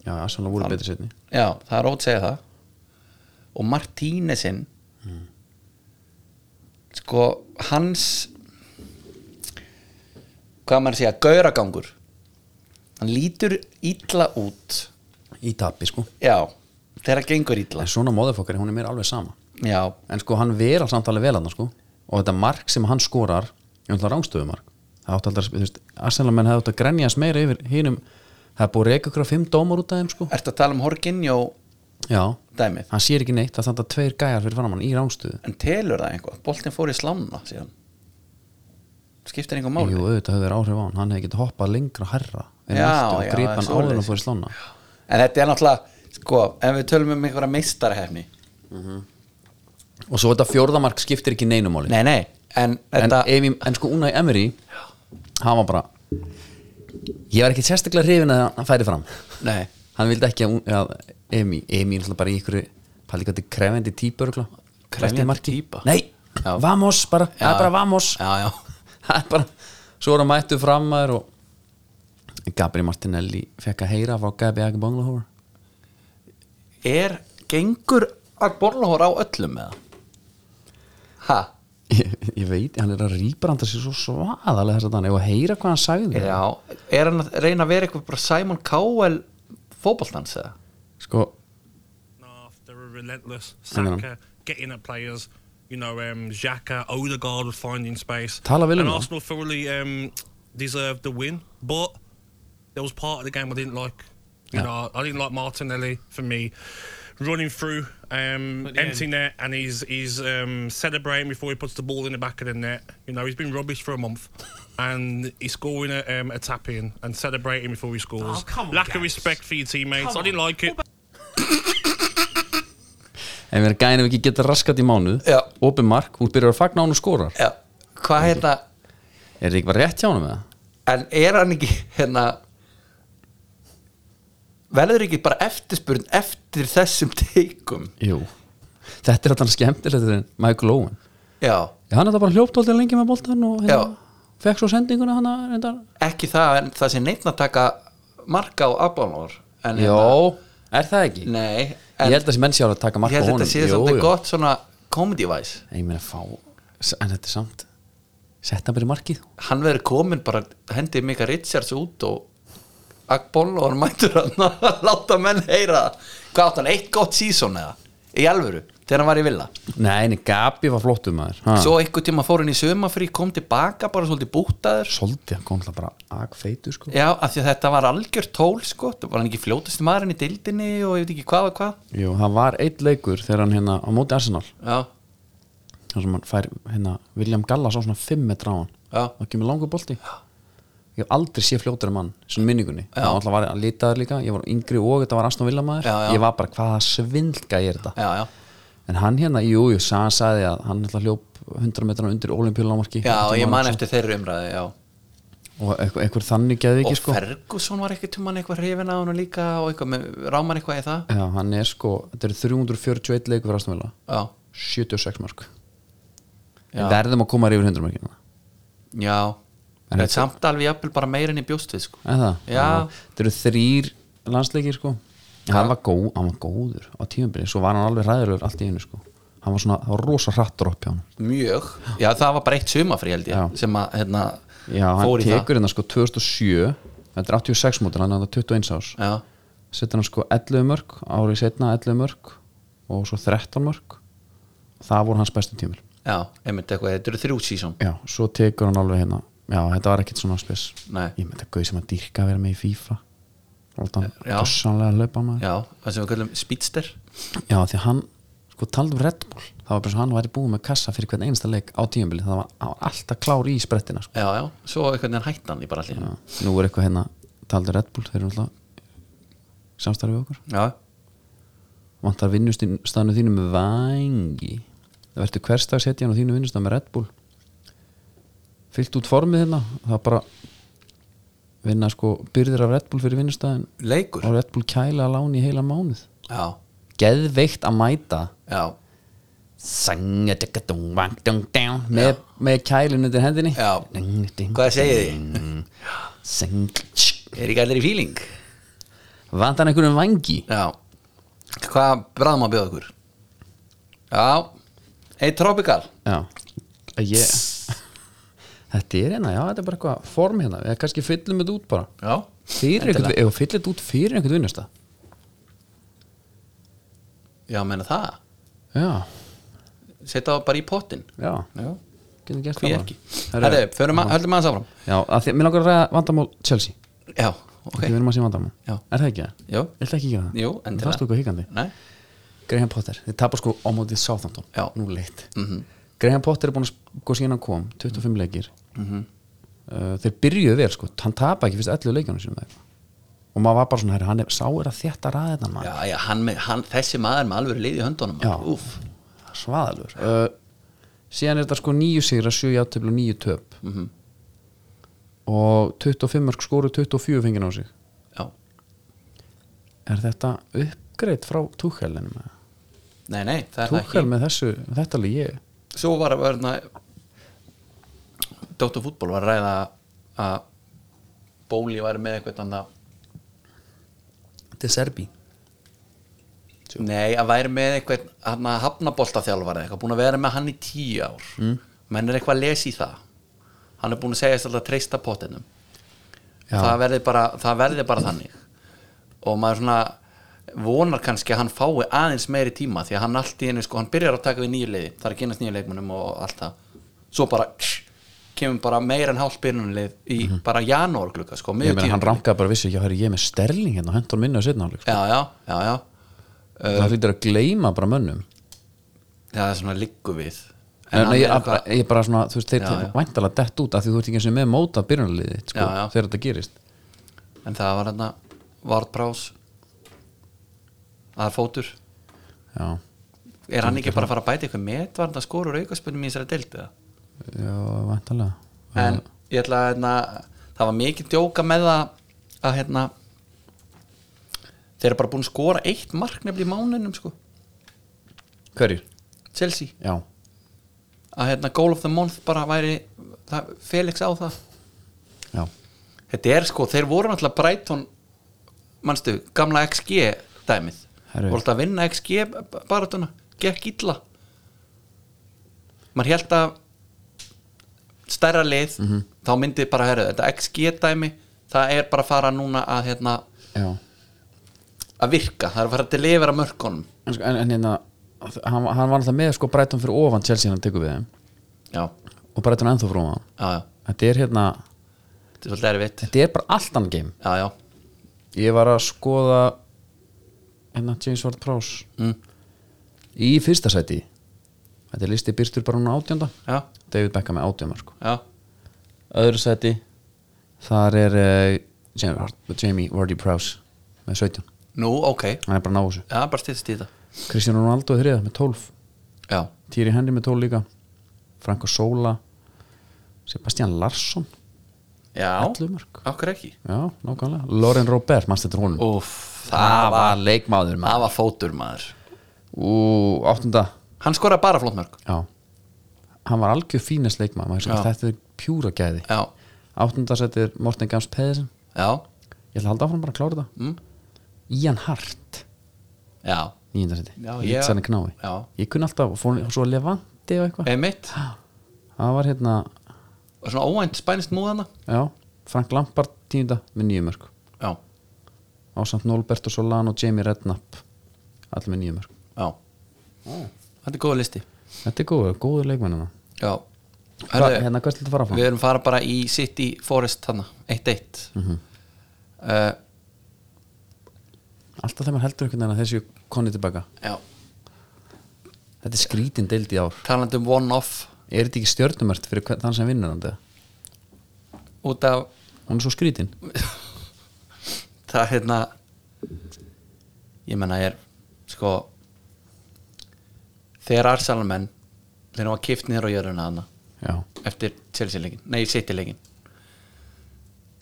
S1: Já, Arsenal voru
S2: Hann-
S1: betri setni
S2: já, það er ótt segja það og Martínesin sko hans hvað á maður að segja, gauragangur hann lítur illa út
S1: Í tapi, sko
S2: já, þegar gengur illa
S1: En svona móðafokkari, hún er mér alveg sama
S2: já,
S1: En sko, hann vera samt alveg vel hann, sko Og þetta mark sem hann skorar Ég ætla rángstöðumark Það átti aldrei, að- þú veist, Arsenal menn hefði átt að grenjast meira yfir hinum Það er búið að reyka ykkur á fimm dómar út af þeim, sko
S2: ertu að tala um Horkinjó
S1: Já,
S2: dæmið,
S1: hann sér ekki neitt Það standa tveir gæjar fyrir framann í rángstöðu
S2: en telur það einhvað boltin fór í slána síðan skiptir einhver máli
S1: Jú, auðvitað hefur áhrif á hann, hann hefði getið hoppað lengra herra en
S2: Já,
S1: aftur og
S2: já,
S1: grípa hann
S2: svoleiðis.
S1: áður og fór í slána
S2: en þetta er náttúrulega, sko, ef við tölum um einhverja meistarhefni,
S1: og svo þetta fjórðamark skiptir ekki neinumáli
S2: nei nei en
S1: en,
S2: þetta,
S1: Amy, en sko Unai Emery hann var bara ég var ekki sérstaklega hrifin að hann færi fram
S2: nei
S1: hann vildi ekki að, Ú- að Amy, Amy er bara í ykkur pæli ekki að þetta er krefendi típur
S2: Krefjandi týpa?
S1: nei,
S2: Já.
S1: vamos bara það er bara vamos
S2: já, já,
S1: Það er bara, svo er hann mættu fram maður og Gabri Martinelli fekk að heyra frá Gabi Aki Banglahóra
S2: er gengur að borlahóra á öllum með það ha,
S1: ég, ég veit, hann er að rýbranda sér svo svaðalega þess að hann, ef að heyra hvað hann sagði
S2: já, er hann að reyna að vera eitthvað bara Simon Cowell fótboltans eða,
S1: sko,
S4: half. They were relentless.
S1: I know.
S4: Saka getting at players. You know, um, Xhaka, Odegaard was finding space.
S1: Tyler Villeneuve.
S4: And Arsenal thoroughly um, deserved the win, but there was part of the game I didn't like. You
S1: Yeah.
S4: know, I didn't like Martinelli for me running through um, empty net, and he's he's um, celebrating before he puts the ball in the back of the net. You know, he's been rubbish for a month, and he's scoring a, um, a tap in and celebrating before he scores.
S5: Oh, come on,
S4: Lack of
S5: guys.
S4: respect for your teammates. I didn't like it.
S1: ef við erum gæðin ef ekki geta raskat í mánuð
S2: Já.
S1: opið mark, hún byrjar að fagna á hann og skorar
S2: já, hvað hérna
S1: er þetta ekki bara rétt hjá hann með það?
S2: En er hann ekki hérna Verður ekki bara eftirspurn eftir þessum teikum
S1: Jú, þetta er alltaf skemmtilegt en Michael Owen,
S2: Já,
S1: Já, hann er þetta bara hljópt alltaf lengi með boltan og hérna
S2: Já.
S1: fekk svo sendinguna hann að reyndar
S2: ekki það en það sé neitt að taka marka á abonor en,
S1: Jó, er það ekki?
S2: hérna, Nei,
S1: ég
S2: en
S1: held að þessi menn sé alveg að taka
S2: ég
S1: mark á
S2: held
S1: honum
S2: þetta sé svolítið gott svona comedy-wise
S1: Ég meina fá, en þetta er samt setta bara í markið
S2: Hann verður komin bara, hendi Mika Richards út og abonor mætur hann að [LAUGHS] láta menn heyra það. Hvað átt hann, eitt gott season eða? Í alvöru, þegar hann var í villa
S1: Nei, nei, Gabi var flottum maður ha.
S2: Svo einhvern tíma fór hann í sömafrí, kom tilbaka bara svolítið bútaður
S1: Soldi, hann kom alltaf bara agfeitur sko
S2: Já, af því að þetta var algjör tól sko, það var hann ekki fljótasti maðurinn í dildinni og ég veit ekki hvað og hvað
S1: Jú, það var eitt leikur þegar hann hérna á móti Arsenal
S2: Já,
S1: þar sem hann fær hérna William Gallas á svona 5 metra á hann
S2: Já.
S1: og kemur langur bolti Ég hef aldrei sé fljótari mann, svona minningunni Já. Það var alltaf var að litaður líka, ég var yngri og þetta var Aston Villa maður
S2: Já, já.
S1: Ég var bara hvaða svindlga ég er þetta
S2: já, já,
S1: En hann hérna, jú, jú, sa- hann sagði að hann alltaf hljóp 100 metrana undir olimpíulámarki
S2: já ég man eftir þeirri umræði já.
S1: Og einhver, einhver þannig geði
S2: og
S1: ekki sko
S2: Ferguson var eitthvað tumann eitthvað hrifin á hann líka og eitthvað, með, rámar eitthvað í það
S1: Já, hann er sko, þetta eru 341 leikur fyrir Aston Villa
S2: Já,
S1: 76 mörg
S2: Já.
S1: verðum að koma yfir 100 mörgina
S2: já,
S1: En
S2: Þetta er samt alveg jafnvel bara meira enn í bjóst við sko.
S1: Er það?
S2: Já.
S1: Þetta eru þrýr landsleikir sko hann var, góð, hann var góður á tíumbyrði Svo var hann alveg ræðilegur allt í hennu sko Hann var svona, það var rosa hrattur upp hjá hann
S2: Mjög Já, það var bara eitt sumafri held ég
S1: Já.
S2: sem að hérna
S1: Já, hann
S2: fór í það
S1: tekur hérna sko 2007 Þetta er 86 mútur, hann er þetta 21 árs
S2: Já,
S1: Setur hann sko 11 mörg, árið setna 11 mörg Og svo 13 mörg Það voru hans bestu tímur
S2: já, einmitt eitthvað, þetta eru þrjú sísón
S1: Já, svo tekur hann alveg hérna Já, þetta var ekkert svona spes
S2: Nei.
S1: Ég með þetta gauð sem að dýrka að vera með í FIFA Láta hann
S2: Eh, Já.
S1: gossanlega að laupa maður
S2: Já, það sem við kallum speedster
S1: Já, því að hann, sko, taldi um Red Bull það var bara svo hann væri búið með kassa fyrir hvern einasta leik á tíumbili, það var, hann var alltaf klár í sprettina, sko.
S2: Já, já, svo einhvern veginn hættan í bara allir
S1: Já,
S2: Já,
S1: nú er eitthvað hérna, taldi Red Bull þeir eru alltaf samstarfið við okkur
S2: já,
S1: vantar vinnustanu þínu með vangi það verður hverstag setja hann á þínu vinnustanu með Red Bull fyllt út formið hérna það bara vinna sko byrðir af Red Bull fyrir vinnustæðin
S2: leikur
S1: og Red Bull kæla að láni í heila mánuð
S2: Já,
S1: geðveikt að mæta
S2: já,
S1: Sanga digga dung bang dung down með, með kælun undir hendinni
S2: Já.
S1: Ding, ding,
S2: Hvað segið þið?
S1: ding. Sing, tsk.
S2: er ekki allir í fíling?
S1: Vantar hann einhverjum vangi
S2: Já, hvað bræðum að bjóða ykkur? Já, eitt tropical
S1: Já ég, Þetta er hérna, já þetta er bara eitthvað form hérna Eða kannski fyllum þetta út bara
S2: Já,
S1: Fyrir einhvern, ef fyllir þetta út fyrir einhvern vinnasta
S2: já, meina það
S1: Já,
S2: Setta það bara í pottin
S1: já
S2: Já,
S1: Getum gert
S2: hví
S1: það
S2: ekki
S1: bara. Herru,
S2: Herðu, förum að, höldum aðeins áfram
S1: Já, af því, mér langar að ræða vandamál Chelsea
S2: Já, ok,
S1: Við erum að sé vandamál
S2: Já.
S1: Er það ekki það?
S2: já,
S1: Viltu ekki gera það?
S2: jú,
S1: En
S2: endilega
S1: það stóku hikandi
S2: Nei,
S1: Graham Potter, þið tapar sko á mótið Southampton
S2: Já. Mhm.
S1: nú leitt Graham Potter er búin að sko síðan hann kom 25 leikir
S2: Mhm.
S1: uh, þeir byrjuðu vel sko, hann tapa ekki fyrst 11 leikjunum sínum eða eitthvað. og maður var bara svona, herri, hann er, sá er að þetta ræðina maður,
S2: já, já, hann, með- hann, þessi maður með alveg lið í höndunum
S1: Já.
S2: Úf,
S1: svaðalur uh, síðan er þetta sko nýju sigra, sjö játtöfl og nýju töp
S2: Mhm.
S1: og 25 mörg skoru 24 fengið á sig
S2: já,
S1: er þetta uppgreitt frá Tuchelinum?
S2: nei, nei, það er það
S1: Tuchel
S2: ekki
S1: með þessu, þetta lið ég
S2: Svo var að verna Dóttur fútból var að ræða að Bóli væri með eitthvað annað
S1: þetta er Serbi
S2: Nei, að væri með eitthvað hann að hafnaboltaþjálfari eitthvað, búin að vera með hann í tíu ár mm. menn er eitthvað að lesa í það hann er búin að segja alltaf að treysta pottinum
S1: Já.
S2: það verði, bara, það verði bara þannig og maður svona vonar kannski að hann fái aðeins meiri tíma því að hann allt í einu sko, hann byrjar að taka við nýju leiði það er að kynast nýju leikmunum og allt það svo bara kemur bara meira en hálf byrjunleið í bara janúar glukka sko,
S1: Mhm. ég meina
S2: miðju
S1: hann
S2: tímabili.
S1: rankaði bara vissi ekki að herri, ég er með sterling hérna og hendur minna á setna hálfleik sko.
S2: já, já, já, já.
S1: það hlýtur að gleyma bara mönnum
S2: það er svona liggu við
S1: en
S2: hann
S1: nei,
S2: er
S1: ég,
S2: eitthvað-
S1: bara, ég bara svona, þú veist, þeir
S2: Já, já.
S1: væntalega dett út af því þú ert ekki eins og með móta byrjunarliði sko,
S2: Já, já.
S1: þegar þetta gerist
S2: en það var hérna Vardbrás aðarfótur
S1: já,
S2: er hann ekki bara að fara að bæta eitthvað met var hann að skora úr aukaspunum í þessari deildu
S1: já, væntalega
S2: en ég ætla að hérna, það var mikið djóka með það að hérna þeir eru bara búin að skora eitt mark nefnilega í máninum sko,
S1: hverjir?
S2: Chelsea
S1: já,
S2: að hérna goal of the month bara væri það, Felix á það
S1: já,
S2: þetta er sko, þeir voru náttúrulega Brighton manstu, gamla XG dæmið,
S1: Herru.
S2: voru alltaf að vinna XG b- baratuna, gekk illa maður held að stærra lið þá myndi bara, herru, þetta XG dæmi það er bara að fara núna að hérna,
S1: já
S2: að virka það er að fara að delivera mörkunum
S1: en, sko, en, en hérna, hann, hann var alltaf með sko breytum fyrir ofan Chelsea hann tekur við þeim
S2: já,
S1: og breytum ennþá frá hann
S2: já, já,
S1: þetta er hérna,
S2: þetta er svolítið erfitt
S1: þetta er bara allt annan game
S2: já, já,
S1: ég var að skoða hérna James Ward Prowse
S2: Mm.
S1: í fyrsta sæti þetta er listi byrstur bara núna átjönda
S2: já,
S1: David Beckham er átjönda sko.
S2: já
S1: öðru sæti þar er uh, Jamie, Ward- Jamie Wardy Prowse með 17
S2: nú, ok,
S1: hann er bara að ná þessu
S2: já, bara stýttist í þetta
S1: Cristiano Ronaldo er þriða með 12
S2: já,
S1: Thierry Henry með 12 líka Franko Sola Sebastian Larsson
S2: já,
S1: 11 mörg
S2: okkur ekki
S1: já, nákvæmlega Lauren Robert, mannstu þetta honum
S2: Úf, það var
S1: leikmáður
S2: það var fótur maður
S1: og áttunda
S2: hann skoraði bara flott mörg
S1: Já hann var algjör fínast leikmaður maður hugsaði,
S2: Já.
S1: þetta er pjúra gæði
S2: já,
S1: áttundarsettir Morten Gams Pedersen
S2: já,
S1: ég ætla að halda áfram bara að klára þetta
S2: Mm.
S1: Ian Hart
S2: já
S1: nýjundarsetti,
S2: Já,
S1: ég
S2: ég-
S1: lítið sannig knái
S2: já. Eh.
S1: ég kunni alltaf, og fór og svo Levanti og eitthvað
S2: einmitt,
S1: það var hérna,
S2: og svona óvænt spænist múðana
S1: já Frank Lampard tíunda með nýju mörg
S2: já,
S1: ásamt Nolbert og Solano og Jamie Redknapp allir með nýju mörg
S2: já þetta er góða listi
S1: þetta er góður, góður leikmennina
S2: já,
S1: Hva,
S2: Herðu,
S1: hérna, hvert er þetta fara fram?
S2: við erum fara bara í City Forest þarna, 1-1 uh,
S1: alltaf þegar maður heldur einhvern veginn að þessi konni tilbaka
S2: já,
S1: þetta er skrítin deild í ár
S2: talandi um one-off
S1: er þetta ekki stjörnumört fyrir hvern- þann sem vinnur hann þetta?
S2: út af
S1: hún er svo skrítin
S2: það hérna ég menna er sko þegar Arsenal menn þeir eru að kipt niður á jörðuna hana
S1: já,
S2: eftir Chelsea-leikin, nei City-leikin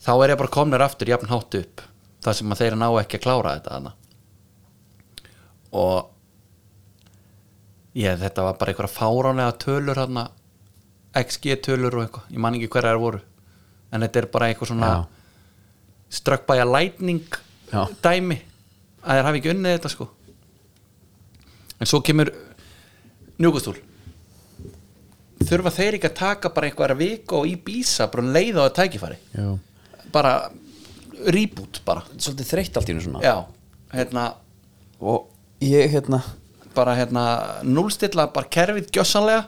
S2: þá er ég bara komnir aftur jafn hátt upp þar sem að þeir ná ekki að klára þetta hana og ég þetta var bara einhverja fáránlega tölur hana XG tölur og eitthvað, ég man ekki hverja þær voru en þetta er bara eitthvað svona
S1: já,
S2: struck by a lightning
S1: Já.
S2: dæmi að þeir hafi ekki unnið þetta sko en svo kemur njúkustúl þurfa þeir ekki að taka bara einhverja viku og í bísa bara um leið á að tækifæri
S1: já.
S2: bara reboot bara
S1: svolítið þreytt allt í hennu svona
S2: já, hérna
S1: og ég, hérna,
S2: bara hérna núlstilla bara kerfið gjössanlega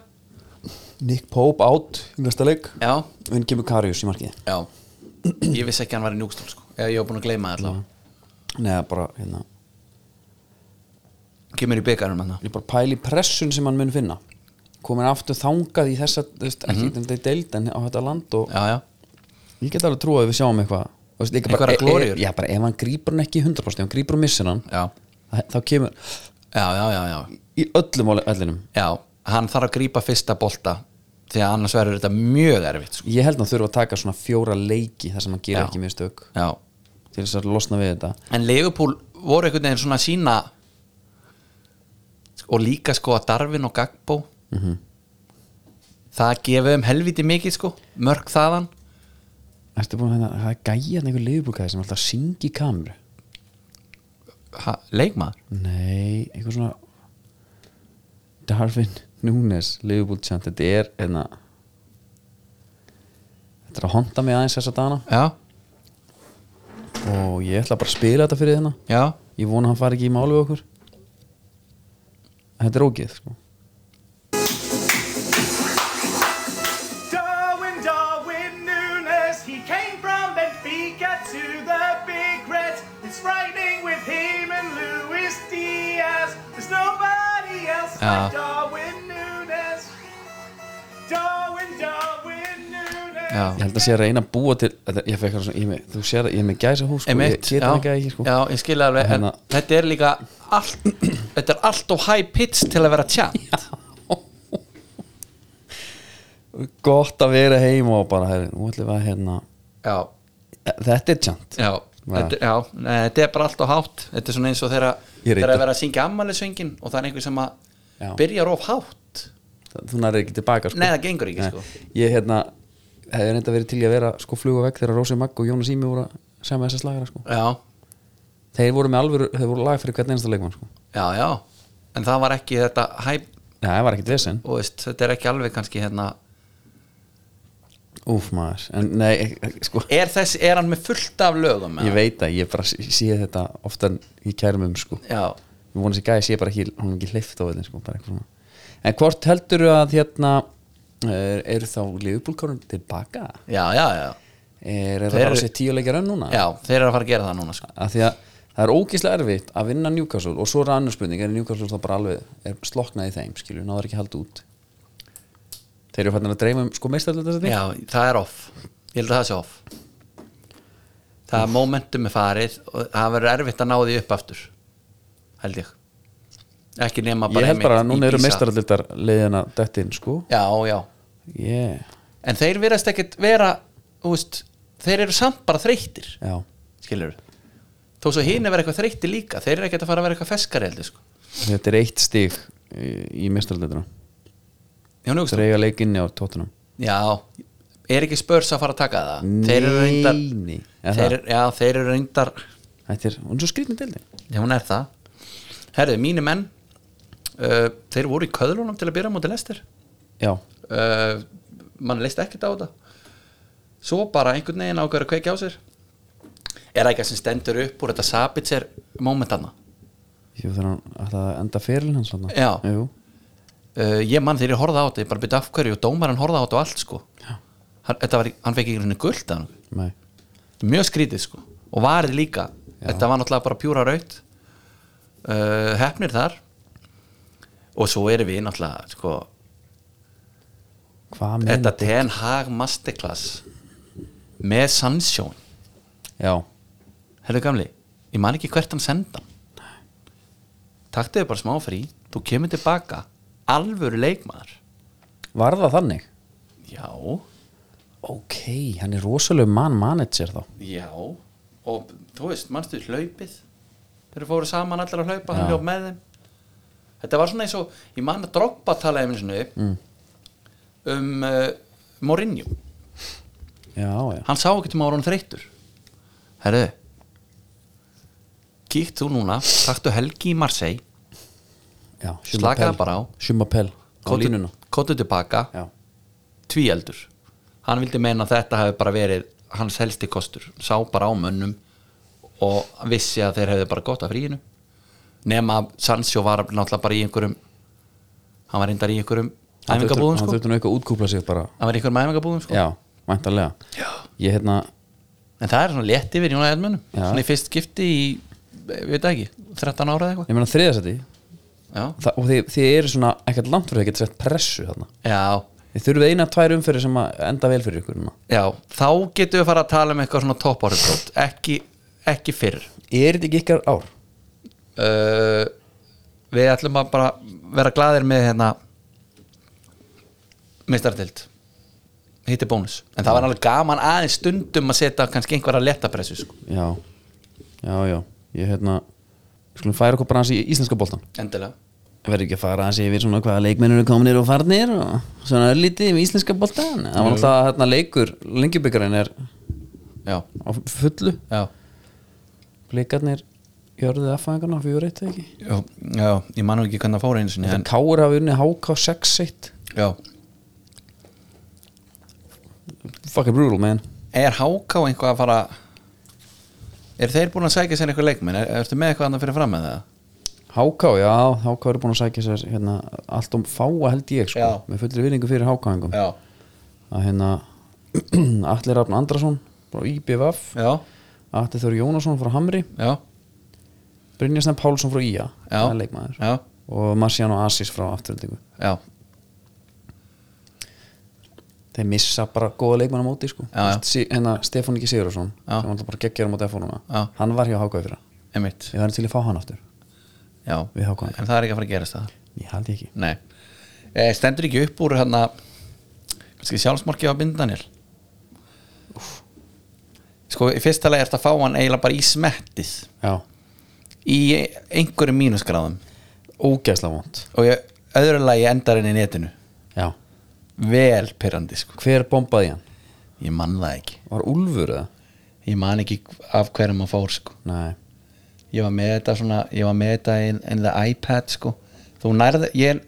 S1: Nick Pope átt í næsta leik
S2: já,
S1: vinn kemur Karius í markið
S2: já ég vissi ekki að hann var í njúkustúl sko eða ég var búin að gleyma það allavega
S1: neða bara, hérna,
S2: kemur í byggarum hann
S1: ég bara pæli pressun sem hann mun finna komin aftur þangað í þessa þú veist, ekki mm -hmm. deild en á þetta land og
S2: já, já,
S1: ég get alveg trúa að við sjáum eitthvað Þú veist, líka bara-
S2: Einhverjar glóríur.
S1: e, e, já, bara ef hann grípur hann ekki í 100% ef hann grípur og missir hann
S2: já,
S1: þá- þá kemur
S2: já, já, já, já.
S1: í öllum ále- öllinum
S2: Já, hann þarf að grípa fyrsta bolta því að annars verður þetta mjög erfitt sko.
S1: ég held að hann þurfa að taka svona fjóra leiki þar sem hann gerir
S2: Já.
S1: ekki mistök
S2: Já,
S1: til þess að losna við þetta
S2: en Leifupúl voru einhvern veginn svona sína og líka sko að Darvin og Gagbo
S1: Mhm.
S2: það gefið um helviti mikið sko mörg þaðan
S1: Ertu búin að hérna- það er gæjan einhver liðbúkaði sem er alltaf syngi kamru
S2: ha, leikmaður
S1: nei, einhver svona Darwin Núnes liðbúl tjant, þetta er hérna þetta er að honda mig aðeins þessa dana
S2: Já,
S1: og ég ætla bara að spila þetta fyrir þennan
S2: já,
S1: Ég vona að hann fari ekki í mál við okkur Þetta er ógeð sko.
S3: Darwin, Darwin Nunes, he came from Benfica to the big Reds. It's frightening with him and Luis Diaz. There's nobody else
S2: Ah.
S3: like Darwin Nunes. Darwin, Darwin Nunes.
S2: já
S1: Ég held að sé að reyna að búa til þetta, ég fekk svona, ég, er með- Þú sér að ég er með gæsa hús sko. Ég
S2: Einmitt,
S1: get
S2: já,
S1: hann ekki ekki sko.
S2: já, ég skilja alveg en
S1: Hérna-
S2: þetta er líka allt, [CLEARS THROAT] þetta er allt of high pitch til að vera tjant
S1: Gott að vera heima og bara her, Nú ætlum við að hérna E,
S2: já.
S1: Þetta er tjant
S2: Já,
S1: Nei.
S2: þetta, já nei, þetta er bara allt á hátt Þetta er svona eins og þeirra
S1: Ég reyndi.
S2: Þeirra að vera að syngja ammælisöngin Og það er einhver sem að
S1: Já.
S2: byrjar of hátt
S1: Þú nærið ekki tilbaka sko.
S2: Nei, það gengur ekki, sko.
S1: Ég hérna hefði reynda verið til í að vera sko fluga vekk þegar Rósi Magg og Jónas Ími voru að segja með þessa slagara sko.
S2: Já,
S1: Þeir voru með alvöru, þeir voru lag fyrir hvern einasta leikmann sko.
S2: já, já En það var ekki þetta hæ,
S1: Nei, það var ekkert vesen
S2: og veist, Þetta er ekki alveg kannski hérna
S1: Úf maður, en nei, ek- sko
S2: Er, þess, er hann með fullt af lögum?
S1: ég
S2: eða?
S1: veit að ég bara sé sé þetta ofta í kærumum sko ég
S2: Já,
S1: vona að þessi gæði sé bara ekki, hún er ekki hleyft á þetta sko, bara eitthvað svona en hvort heldur að hérna er, eru þá liðbúlkórun tilbaka
S2: já, já, já
S1: er, er það
S2: Þeir
S1: bara
S2: eru-
S1: að sé tíu leikja rönn núna
S2: Já, þeir eru að fara að gera það núna sko.
S1: að því að það er ógeðslega erfitt að vinna Newcastle og svo er annars spurning, er Newcastle þá bara alveg er sloknað í þeim, skilju, náður ekki hald út þeir eru fannir að dreyma um sko meistarlega þetta
S2: Já, það er off Ég held að það sé off Það er momentum er farið og það verður erfitt að ná því upp aftur held ég ekki nema bara
S1: ég held
S2: einmitt
S1: bara að núna
S2: í
S1: eru
S2: Pisa.
S1: meistarlega leiðina dætt inn, sko
S2: Já, já
S1: yeah.
S2: En þeir verðast ekkit vera úst, þeir eru samt bara þreyttir
S1: já,
S2: skilur þó svo hinn er verið eitthvað þreyttir líka þeir eru ekkit að fara að vera eitthvað feskari held ég sko
S1: Þetta er eitt stig í, í mestarleituna
S2: Já, nú,
S1: Þeir eiga leik inni á tóttunum
S2: já er ekki spörs að fara að taka það þeir eru reyndar
S1: Nei, nei. Er
S2: þeir,
S1: það?
S2: já, þeir eru reyndar
S1: Þetta er, hún er svo skrýtni deildin
S2: já, hún er það herðu, mínu menn uh, þeir voru í köðlunum til að byrja mútið lestir
S1: Já,
S2: uh, mann leist ekkert á þetta svo bara einhvern veginn ákveður að kveikja á sér er það eitthvað sem stendur upp úr þetta Sabitzer momentana
S1: jú þegar hann ætlaði að enda feril hans hann
S2: Já.
S1: Jú,
S2: uh, ég mann þegar ég horfði á þetta ég bara byrja af hverju og dómarinn horfði á þetta og allt sko
S1: Já.
S2: hann, þetta var, í- hann fekk ekki henni guld hann.
S1: nei
S2: mjög skrítið sko og varði líka, þetta var náttúrulega bara pjúra raut uh, hefnir þar og svo erum við náttúrulega sko,
S1: Hvað með
S2: þetta Ten Hag Masterclass með Sandsjón
S1: Já,
S2: herðu gamli, ég man ekki hvert hann senda hann. taktu þig bara smá frí þú kemur tilbaka alvöru leikmaður
S1: var það þannig?
S2: já,
S1: Ok, hann er rosalega mann manager þá
S2: Já, og þú veist, manstu hlaupið þeir fóru saman allir að hlaupa, hann
S1: Já.
S2: hljóp með þeim Þetta var svona eins og ég man að droppa talaði um svona mm. um uh, Mourinho,
S1: Já, já,
S2: hann sá um ekki til maður hann þreyttur Herðu kíkt þú núna taktu helgi í Marseille
S1: já
S2: Slakaðu bara á.
S1: Sjumapel, á
S2: kóddu-
S1: línuna
S2: kóddu tilbaka,
S1: Já,
S2: tvíeldur hann vildi meina að þetta hefði bara verið hans helsti kostur, sá bara á mönnum og vissi að þeir hefði bara gott af fríinu nema að Sancho var náttúrulega bara í einhverjum hann var reyndar í einhverjum
S1: hann þurfti
S2: æfingabúðum
S1: hann
S2: sko
S1: þurfti nú eitthvað að útkúpla sig bara
S2: hann var í einhverjum æfingabúðum sko
S1: Já, væntanlega Já Ég hérna,
S2: en það er svona létt yfir Jónæði Edmunum
S1: Já.
S2: svona í fyrst skipti í, ég veit það ekki 13 ára eða eitthvað
S1: ég meina þriðasæti
S2: já,
S1: Þa, og þið, þið eru svona ekkert langt fyrir að geta sett pressu þarna
S2: já,
S1: Þið þurfið eina tvær umfyrir sem að enda vel fyrir ykkur núna.
S2: já þá getum við fara að tala um eitthvað svona toppárugrót ekki, ekki fyrr
S1: Er þetta ekki ykkar ár?
S2: uh, við ætlum að bara vera glaðir með hérna meistartild hitti bónus, en það var alveg gaman aðeins stundum að setja kannski einhverja léttapressu sko.
S1: Já, já, já Ég hérna, skulum færa okkur bara aðeins í íslenska boltan
S2: endilega
S1: Verður ekki að fara aðeins yfir svona hvaða leikmennir eru kominir og farnir og svona örlítið um íslenska boltan Það var náttúrulega að hérna leikur, lengjubikarinn er
S2: já,
S1: á fullu
S2: já,
S1: Blikarnir jörðuð aðfæðingarna fjóra eitt ekki
S2: já, já ég manu ekki hvernig það fór einu sinni
S1: Þetta
S2: en,
S1: káur hafa unni HK 6-1
S2: já.
S1: Fucking brutal man
S2: er háká einhvað að fara er þeir búin að sækja sér einhver leikmenn er, ertu með eitthvað andan fyrir fram með það
S1: HK, já, HK eru búin að sækja sér hérna, allt um fáa held ég sko,
S2: Já.
S1: með fullri vinningu fyrir HK-ingum
S2: já,
S1: að hérna [CLEARS THROAT] Atli Rafn Andrason frá IBVF
S2: já,
S1: Atli Þóri Jónasson frá Hamri
S2: já,
S1: Brynjarsnæm Pálsson frá IA
S2: Já.
S1: það er leikmaður
S2: já,
S1: og Marciano Asis frá afturöldingu
S2: já.
S1: þeir missa bara góða leikmann á móti sko.
S2: Já, já.
S1: Sí, hérna, Stefán Ingi Sigurðarsson
S2: Já.
S1: sem var bara geggjara móti f núna
S2: Já.
S1: hann var hjá HK fyrir
S2: emitt
S1: ég var til að fá hann aftur
S2: já.
S1: Við HK.
S2: en það er ekki að fara að gerast það
S1: ég held ég ekki
S2: Nei, eh, stendur ekki upp úr hérna kannski sjálfsmarkið á bindanil Sko, í fyrsta lagi ert að fá hann eiginlega bara í smettið
S1: já,
S2: í einhverjum mínusgráðum
S1: ógeðslega vond
S2: og ég, öðru lagi endar henni í netinu
S1: já,
S2: vel pyrrandi, sko
S1: hver bombaði hann?
S2: ég man það ekki,
S1: var Úlfur eða?
S2: ég man ekki af hverjum hann fór, sko
S1: nei,
S2: ég var með þetta svona, ég var með þetta in, in the iPad, sko þú nærði, ég,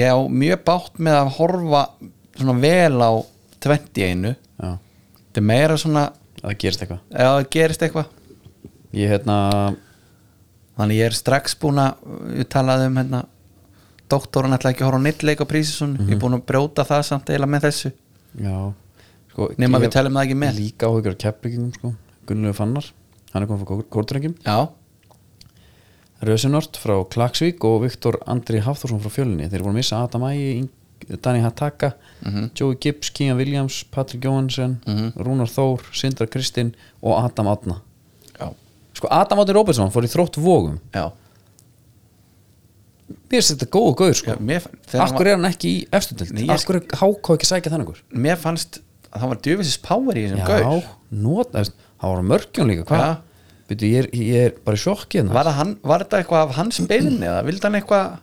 S2: ég á mjög bátt með að horfa svona vel á 20 einu
S1: já,
S2: þetta er meira svona
S1: það gerist eitthvað
S2: ef það gerist eitthvað
S1: ég hérna
S2: þannig ég er strax búin að ég talaði um hérna doktorinn ætla ekki að horfa á neitt leik á prísisun ég er búin að brjóta það samt eila með þessu
S1: Já sko,
S2: Nema
S1: ég
S2: við
S1: hef
S2: teljum það ekki með.
S1: Líka áhugur keppbyggingum sko Gunnlegu Fannar, hann er komið frá Kortrengjum
S2: já,
S1: Rösunort frá Klaksvík og Viktor Andri Hafþórsson frá Fjölni Þeir voru að missa Adam Ægi, Ing- Dani Hataka
S2: Mhm.
S1: Joey Gibbs, Kian Williams, Patrick Johansen Rúnar Þór, Sindra Kristinn og Adam Adna
S2: já,
S1: Sko Adam Adni Róbertsson fór í þrótt vogum
S2: já,
S1: Mér finnst þetta góðu gauður sko
S2: já mér, þegar hann
S1: Akkur
S2: var,
S1: er hann ekki í efstutild
S2: Nei, ég-
S1: Akkur er háká ekki að sækja þannig
S2: mér fannst að það var djöfisins power í þessum
S1: Já,
S2: gaur
S1: nota, veist, það voru mörgjum líka Hvað?
S2: Já.
S1: Byrju, ég, er- ég er bara í sjokki hérna
S2: var, það hann, var þetta eitthvað af hans beinni eða vildi hann eitthvað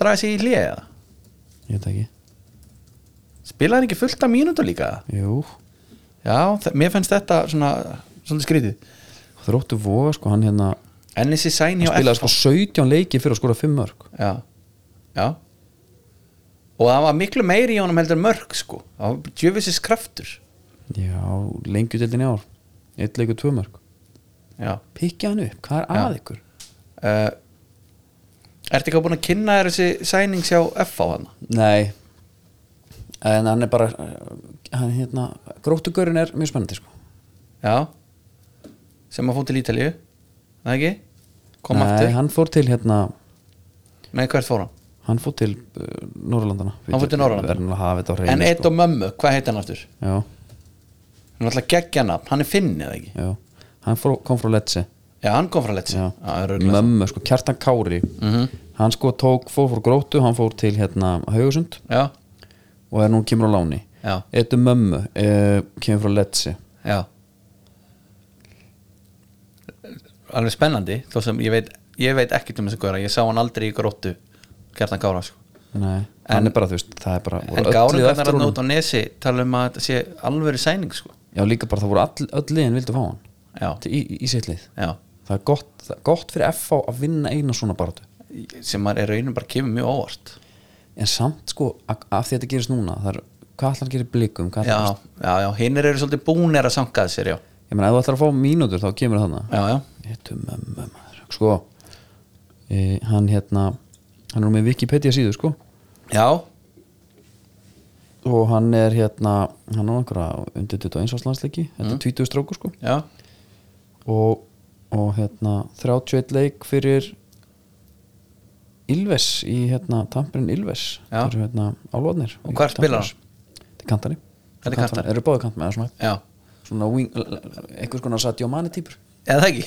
S2: draga sig í hlið eða
S1: Ég veit það ekki
S2: spilaði hann ekki fullt af mínútur líka
S1: Jú,
S2: já, þe- mér fannst þetta svona svona skrítið
S1: þróttu voga sko hann hérna
S2: en þessi sæn hjá
S1: spilaði sko 17 leiki fyrir að skora 5 mörg
S2: já, já og það var miklu meiri í honum heldur en mörg sko, það var djöfisins kraftur
S1: Já, lengju deildin í ár Eitt leikur 2 mörg
S2: já
S1: Pikkja hann upp, hvað er
S2: Já.
S1: að ykkur?
S2: uh, Ertu ekki að búin að kynna þér þessi sæning sjá F á hann?
S1: Nei En hann er bara eh, hann, hérna, Gróttugurinn er mjög spennandi sko
S2: Já sem að fór til Ítalíu Það ekki? Kom
S1: Nei,
S2: aftur
S1: hann fór til hérna
S2: Nei, hvert fór hann?
S1: Hann fór til uh, Norrlandana
S2: Hann fór til Norðurlandana.
S1: Það er náttúrulega að hafa þetta á
S2: en
S1: hreinu
S2: eitt og mömmu, hvað heit hann aftur?
S1: Já,
S2: Hann er alltaf geggja nafn, hann er finni eða ekki?
S1: já Hann fór, kom frá Lecce
S2: Já, hann kom frá Letsi
S1: Já.
S2: það Mhm. er örugglega
S1: mömmu, sko, Kjartan Kári hann sko tók, fór fór grótu hann fór til hérna Haugusund
S2: það. Já,
S1: og er nú kemur á láni
S2: Já.
S1: eittu mömmu, uh, kemur frá Letsi
S2: já Alveg spennandi þó sem ég veit, ég veit ekkert um þessi góra ég sá hann aldrei í gróttu Kjartan Gára sko.
S1: Nei, hann er bara, þú veist, það er bara voru
S2: en
S1: öll
S2: Gára
S1: lið
S2: hann er
S1: honum.
S2: út á nesi tala um að þetta sé alvöru sæning sko.
S1: Já, líka bara það voru all, öll liðin vildu fá hann
S2: Já,
S1: Til- í, í, í sitt lið
S2: já
S1: það er gott, það er gott fyrir FH að vinna eina svona baráttu
S2: sem maður er raunum bara kemur mjög óvart
S1: en samt sko, a- af því að þetta gerist núna það er, hvað ætlar að gera í blikum hvað ætlar að
S2: já, já, já, hinnir eru svolítið búnir að sankaði sér, já
S1: ég meina, ef þú ætlar að fá mínútur þá kemur þannig
S2: já, já,
S1: Hittu mömmu maður Sko e, Hann hérna Hann er nú með Wikipedia síðu sko
S2: já,
S1: Og hann er hérna Hann er einhverja undir 21 árs landsleiki
S2: Mm.
S1: Þetta er 20 strókur sko
S2: já,
S1: Og, og hérna 31 leik fyrir Ylves í hérna Tamperin Ylves
S2: Já.
S1: Það eru hérna álóðnir
S2: Og hvar spilar hann?
S1: Þetta er kantari
S2: Þetta er kantari.
S1: Eru báði kantari svona,
S2: já
S1: svona wing, einhvers konar Sadio Mane típur
S2: eða
S1: [LAUGHS]
S2: ekki,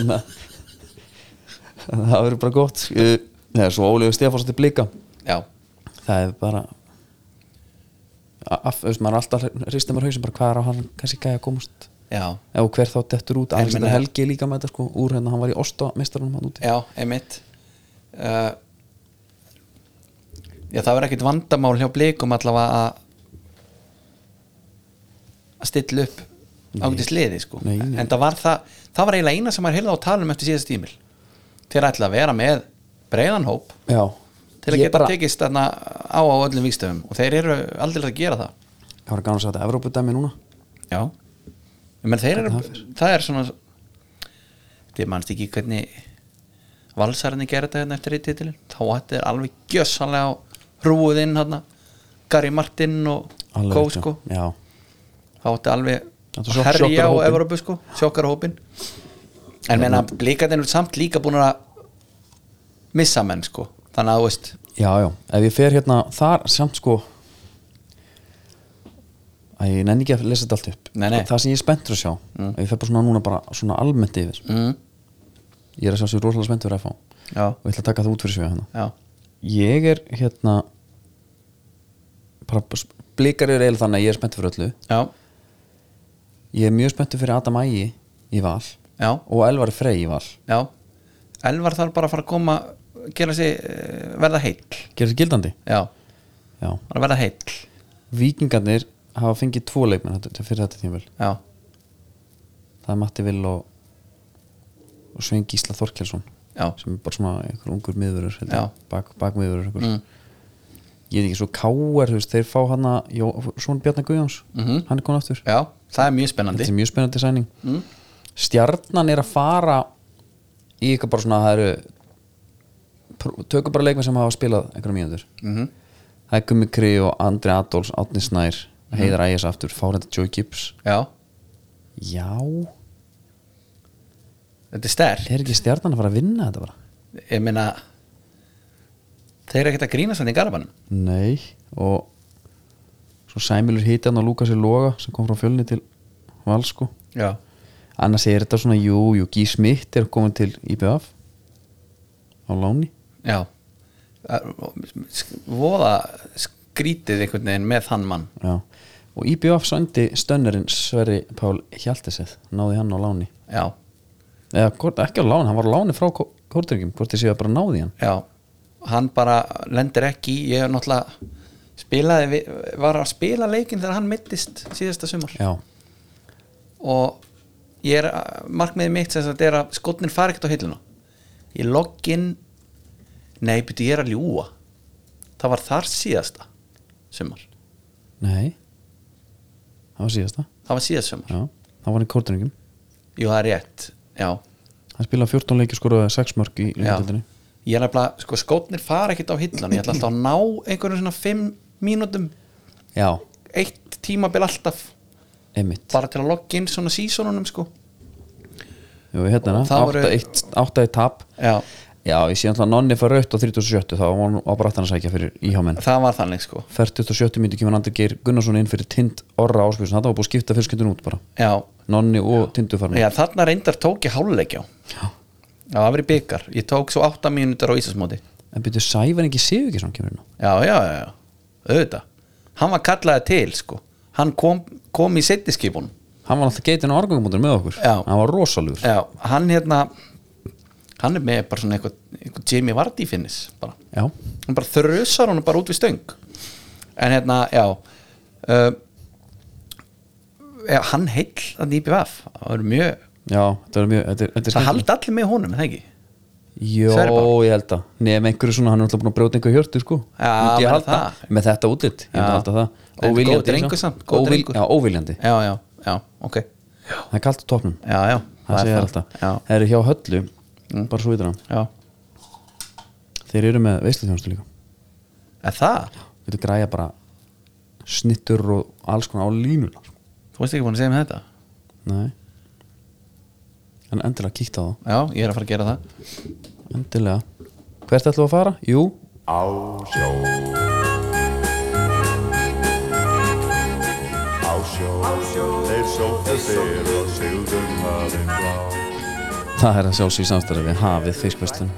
S1: en að- en það verður bara gott Eh, Nei, svo Ólífur Stefáns til blika
S2: já,
S1: það er bara af, þú veist, maður er alltaf hristum á hausum bara hvað er á hann kannski gæja að komast
S2: já
S1: eða hver þá dettur út, alls
S2: meina-
S1: þetta helgi líka með þetta sko, úr hérna, hann var í Osta mestarunum hann úti
S2: já, einmitt uh, já, það verður ekkit vandamál hjá blikum allavega að að stilla upp ágætis liði, sko
S1: Nei, nei.
S2: en það var það, það var eiginlega eina sem maður heyrði á talum eftir síðast tímil þeir ætla að vera með breiðan hóp
S1: já,
S2: til að
S1: Ég
S2: geta
S1: bara-
S2: tekist þarna á á öllum víkstöfum og þeir eru aldrei að gera það
S1: það var gaman að segja þetta Evrópudæmi núna
S2: já menn þeir eru,
S1: Hvernig það fer?
S2: það er svona þið mannst ekki hvernig valsarinn gera þetta hérna eftir í titilin þá ætti þeir alveg gjössanlega á hrúðinn hérna Gary Martin og
S1: Alveg
S2: Kó
S1: rétt, já.
S2: sko
S1: já,
S2: þá ætti alveg
S1: Þetta er sjokk-
S2: herja á
S1: sjokkarhópinn.
S2: Evrópu sko sjokkarhópin en menna blíkarnir eru samt líka búin að missa menn sko þannig að þú veist
S1: já, já, ef ég fer hérna þar samt sko að ég nenni ekki að lesa þetta allt upp
S2: Nei, nei.
S1: Sko, það sem ég er spenntur að sjá ef ég fer bara svona núna bara svona almennt yfir
S2: mm,
S1: ég er að sjá sér rosalega spenntur að fá og
S2: já,
S1: ég ætla að taka það út fyrir sig hérna
S2: já,
S1: ég er hérna bara blikar er eiginlega þannig að ég er spenntur fyrir öllu
S2: já,
S1: ég er mjög spenntur fyrir Adam Ægi í val
S2: já.
S1: og Elvar Frey í val
S2: Já, Elvar þarf bara að fara að koma gera sig, eh, verða heill
S1: gerir það gildandi?
S2: Já,
S1: Já
S2: bara verða heill
S1: Víkingarnir hafa fengið tvo leikmenn þetta- þetta- fyrir þetta tímvel
S2: Já,
S1: það er Matti Vill og, og Svein Gísla Þorkelsson
S2: já,
S1: sem er bara svona einhver ungur miðurur
S2: Já.
S1: bak, bakmiðurur mm. ég veit ekki svo káar veist, þeir fá hana, Jó, svona Bjarnar Guðjóns
S2: Mhm.
S1: hann er komin aftur
S2: já, það er mjög spennandi
S1: þetta er mjög spennandi sæning mm. stjarnan er að fara í eitthvað bara svona það eru pr- tökum bara leikmenn sem hafa spilað einhverjum mínútur
S2: Mhm.
S1: það er Gummi Kri og Andri Adolfs Átni Snær, Heiðar Ægis aftur Fárenda Joe Gibbs
S2: Já,
S1: já,
S2: þetta er stær
S1: er ekki stjarnan að fara að vinna þetta bara
S2: Ég meina þeir eru ekkert að grína sann í garfanum
S1: nei, og svo Sæmilur Hítjan og Lúkasi Loga sem kom frá fjölni til Valsko
S2: Já,
S1: annars er þetta svona, jú, jú, Gí Smitt er komin til IBF á láni
S2: já Sk- Voða skrítið einhvern veginn með þann mann
S1: Já. Og E IBF sændi stönnerinn Sverri Pál Hjaltesið náði hann á láni
S2: Já,
S1: eða hvort- ekki á láni, hann var á láni frá Kortrygjum, hvort þið séu að bara náði hann
S2: já, hann bara lendir ekki í- ég er náttúrulega spilaði, við- var að spila leikinn þegar hann mittist síðasta sumar
S1: já,
S2: og ég er, markmiðið mitt sem þetta er að skotnin fari ekkert á hilluna ég logg inn nei, byrju, ég er að ljúga það var þar síðasta sumar,
S1: nei það var síðasta
S2: það var síðasta sumar
S1: já, það var í kórdringum
S2: jú, það er rétt, já,
S1: hann spilaði 14 leiki skoraði 6 mörg í
S2: já.
S1: leikildinni
S2: ég er nefnilega, sko skotnir fara ekkert á hilluna ég ætla alltaf að ná einhverjum svona 5 mínútum,
S1: já,
S2: eitt tímabil alltaf
S1: einmitt
S2: bara til að logga inn svona sísonunum sko
S1: Jú, hérna,
S2: Það voru-
S1: 8-1 8-1 tap
S2: já,
S1: já, ég sé alltaf að nonni fær rautt á 37 þá var hann á brattan að sækja fyrir íhjámenn
S2: það var þannig sko
S1: 47 myndi kemur Andri Geir Gunnarsson inn fyrir Tind Orra Áspjörsson, þetta var búið að skipta fyrir skjöndun út bara
S2: já,
S1: Nonni og Tindu farin
S2: já þarna reyndar tók ég háluleikjá já, það var í byggar ég tók svo 8 mínútur á Íslandsmóti
S1: en byrju Sævar Ingi Sigurgesson kemur inn á
S2: já, já, já, já, auðvitað hann var kallaði til sko hann kom, kom í settiskipunum
S1: hann var alltaf geitin á argangumótinu með okkur
S2: Já.
S1: hann var rosalugur
S2: já, hann hérna hann er með bara svona eitthvað, eitthvað Jimmy Vardy finnis bara
S1: já,
S2: hann bara þrösar hún bara út við stöng en hérna, já uh, já, hann heill að nýpi vaff, það var mjög
S1: já, þetta er mjög þetta er, þetta er
S2: það
S1: skemmtilegt.
S2: haldi allir með honum, er það ekki
S1: Jó,
S2: Serbar.
S1: ég held að Nefn einhverju svona, hann er alltaf búin að brjóta einhverju hjörtu sko.
S2: Já,
S1: Myndi ég
S2: menn
S1: halda.
S2: það.
S1: Með þetta útlitt, ég myndi
S2: Já.
S1: halda
S2: En
S1: það sko.
S2: góður drengur samt, góður
S1: Óvil,
S2: drengur.
S1: Já, óviljandi,
S2: já, já, já, ok
S1: það er kalt á topnum
S2: já, já,
S1: Það segir
S2: það.
S1: alltaf
S2: já, Mm.
S1: Það eru hjá höllu, bara svo ytran
S2: já,
S1: Þeir eru með veisluþjónustu líka
S2: er það
S1: Við þú græja bara snittur og alls konar á línuna sko.
S2: þú veist ekki búin að segja mér þetta
S1: Nei En endilega kíkta á það
S2: já, ég er að fara að gera það
S1: Endilega Hvert ætlum við að fara? Jú
S5: Á sjó Á sjó Þeir sóttu fyrr og sigðum hafinn blá
S1: Það er að sjálfsög samstæða við hafið fiskvestlun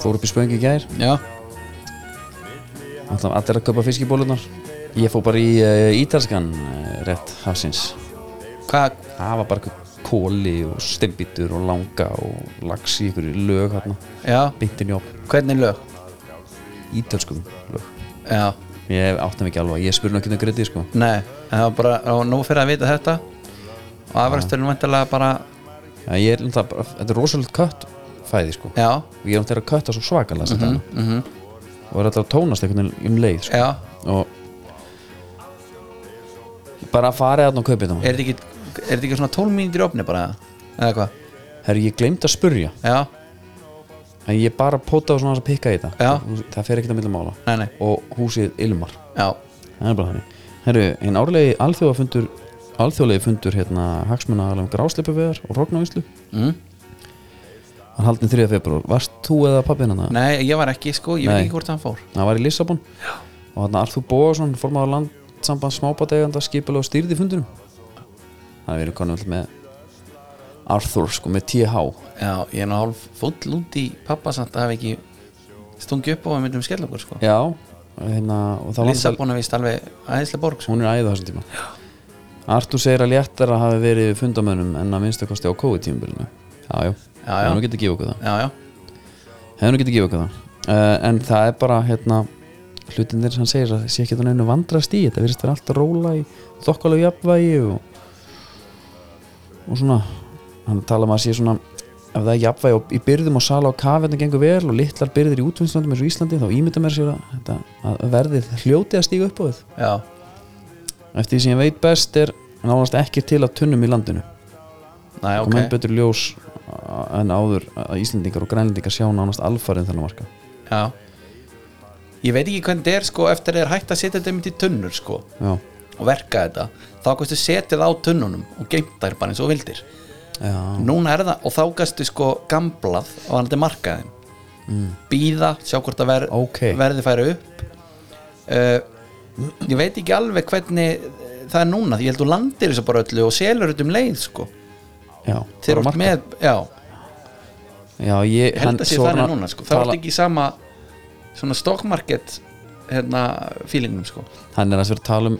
S1: Fór upp í spöngi í gær
S2: já,
S1: Alltaf allir að köpa fiskibólunar Ég fór bara í uh, ítalskan uh, rétt hafsins
S2: hvað,
S1: Það var bara einhver kóli og steinbítur og langa og lax í ykkur lög hérna
S2: já,
S1: Bintin jobb,
S2: hvernig lög
S1: ítalskum lög
S2: já,
S1: Ég átti mig ekki alveg, ég spurði nokkið um greiði sko
S2: nei, en það var bara og nú fyrir að vita þetta og afræsturinn vantilega bara,
S1: Já, ég er náttúrulega bara, þetta er rosalega kött fæði sko
S2: já,
S1: og ég er náttúrulega að kötta svo svakalega mm -hmm, og er alltaf að tónast einhvern veginn um leið sko.
S2: já
S1: og bara að fara þarna og kaupið það
S2: er þetta ekki, er þetta ekki svona 12 mínútur í opni bara, eða hvað
S1: herru ég gleymd að spurja
S2: já,
S1: en ég bara pótaði svona aðeins að pikka í þetta
S2: Já.
S1: það fer ekkert að millumála
S2: Nei, nei.
S1: og húsið Ilmar
S2: já,
S1: það er bara þannig herru en árlegi alþjóðafundur alþjóðlegi fundur hérna hagsmunagalegum grásleipuveðar og hróknavíslu mm. hann haldin 3. februar varst þú eða pappin hann
S2: nei, ég var ekki sko ég veit
S1: Nei.
S2: ekki hvort hann fór
S1: það var í Lissabon Já. og þarna Arthur Bóðarsson formaður landsamband smábateganda skipulega og stýrði fundunum þannig að við erum konum öll með Arthur sko með TH
S2: Já, ég er nú hálf fúll út í pappa samt að hafa ekki stungi upp á að myndum skella okkur sko
S1: Já, hérna, og það var
S2: Lissabon er vist alveg aðeinslega borg sko.
S1: hún er æðið þessum tíma Já. Arthur segir að léttar að hafi verið fundamönnum en að minnstakosti á COVID-tímabilinu Já, já,
S2: Já, já.
S1: nú getur gefið okkur það
S2: Já, já,
S1: hefur nú getið gefið okkur það uh, en það er bara hérna hlutinir sem hann segir að sé ekki þannig einu vandrast í þetta virðist vera allt að róla í þokkalegu jafnvægi og, og svona hann tala um að sé svona ef það er jafnvægi og í byrðum og sala á kafi þetta gengur vel og litlar byrðir í útvinnslöndum eins og Íslandi þá ímynda mér sér að, þetta, að verðið hljótið að stíga upp á þið
S2: já,
S1: eftir því sem ég veit best er nánast ekki til að tunnum í landinu
S2: næ,
S1: okay.
S2: ok
S1: kom enn betur í ljós uh, en áður að Íslandingar og Grænlendingar sjá nánast alfarið um þannig marka
S2: Já Ég veit ekki hvernig þetta er sko eftir að þeir hægt að setja þetta mynd í tunnur sko
S1: já,
S2: og verka þetta, þá kannstu setja það á tunnunum og geimt þær bara eins og þú vildir
S1: já.
S2: Núna er það, og þá kannstu sko gamblað á hann þetta markaðin mm. Býða, sjá hvort það ver,
S1: Ókei.
S2: verði færa upp uh, Ég veit ekki alveg hvernig það er núna, því ég held þú landir þessu bara öllu og selur þetta um leið sko
S1: Já,
S2: Þeir eru
S1: bara
S2: oft með, já,
S1: Já, ég
S2: ég held að sé þannig núna sko. það er
S1: tala,
S2: alltaf ekki í sama svona stock market hérna feelingum sko
S1: Hann er að sér að tala um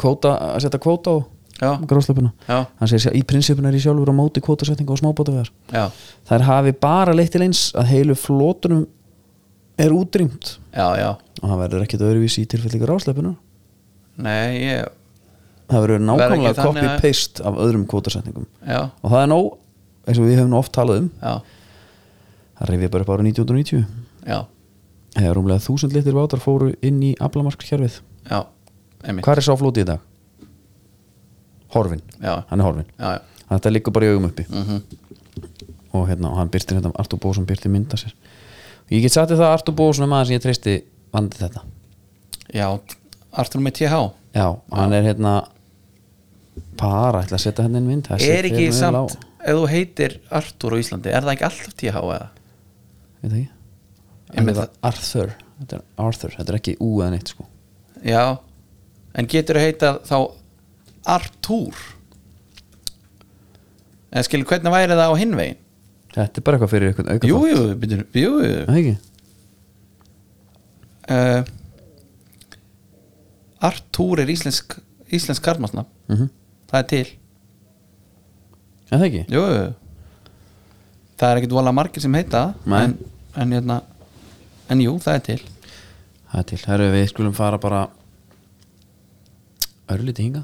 S1: kvóta, að setja kvóta á
S2: já,
S1: gróðslöpuna
S2: Já.
S1: Hann segir sér, í prinsipinu er ég sjálfur á móti kvótasetninga og smábótavegar
S2: já,
S1: Þær hafi bara leitt til eins að heilu flótunum er útrýmt
S2: já, já,
S1: og það verður ekkit öðruvísi í tilfellingur ásleipinu
S2: nei, ég
S1: það verður
S2: ekki
S1: nákvæmlega
S2: þannig að-
S1: copy-paste af öðrum kvótasetningum
S2: já,
S1: og það er nóg, eins og við hefum nú oft talað um
S2: já,
S1: það reyfið bara upp ára 1990
S2: já,
S1: eða rúmlega þúsund litir bátar fóru inn í aflamarkskerfið
S2: já einmitt,
S1: hvað er sá flóti í dag? Horfin,
S2: Já. Mhm.
S1: hann er horfin
S2: já, já,
S1: þetta liggur bara í augum uppi og hérna, og hann byrti hérna Artur Bósson byrti mynda sér og ég get sagt þér það að Artur Bósson er maður sem ég treysti vandi þetta
S2: já Artur með TH
S1: já, hann er hérna bara ætla að setja henni inn mynd það
S2: er
S1: situr
S2: ekki
S1: hérna vel á.
S2: samt, ef þú heitir Artur á Íslandi, er það ekki alltaf TH eða?
S1: Veit það ekki?
S2: Ég
S1: Hann
S2: meina
S1: heitir Arthur þetta er Arthur, þetta er ekki U eða neitt sko
S2: Já, en getur þú heitað þá Artur en skilur, hvernig væri það á hinvegin?
S1: þetta er bara eitthvað fyrir eitthvað auka
S2: Jú, jú, byrju, jú, jú
S1: það ekki?
S2: uh, Artúr er íslensk íslensk karmasna
S1: Mhm.
S2: það er til
S1: Er það ekki?
S2: Jú, jú. það er ekkit vola margir sem heita það,
S1: Nei.
S2: en, en, hérna, en jú, það er til
S1: það er til, herru við skulum fara bara örlítið hinga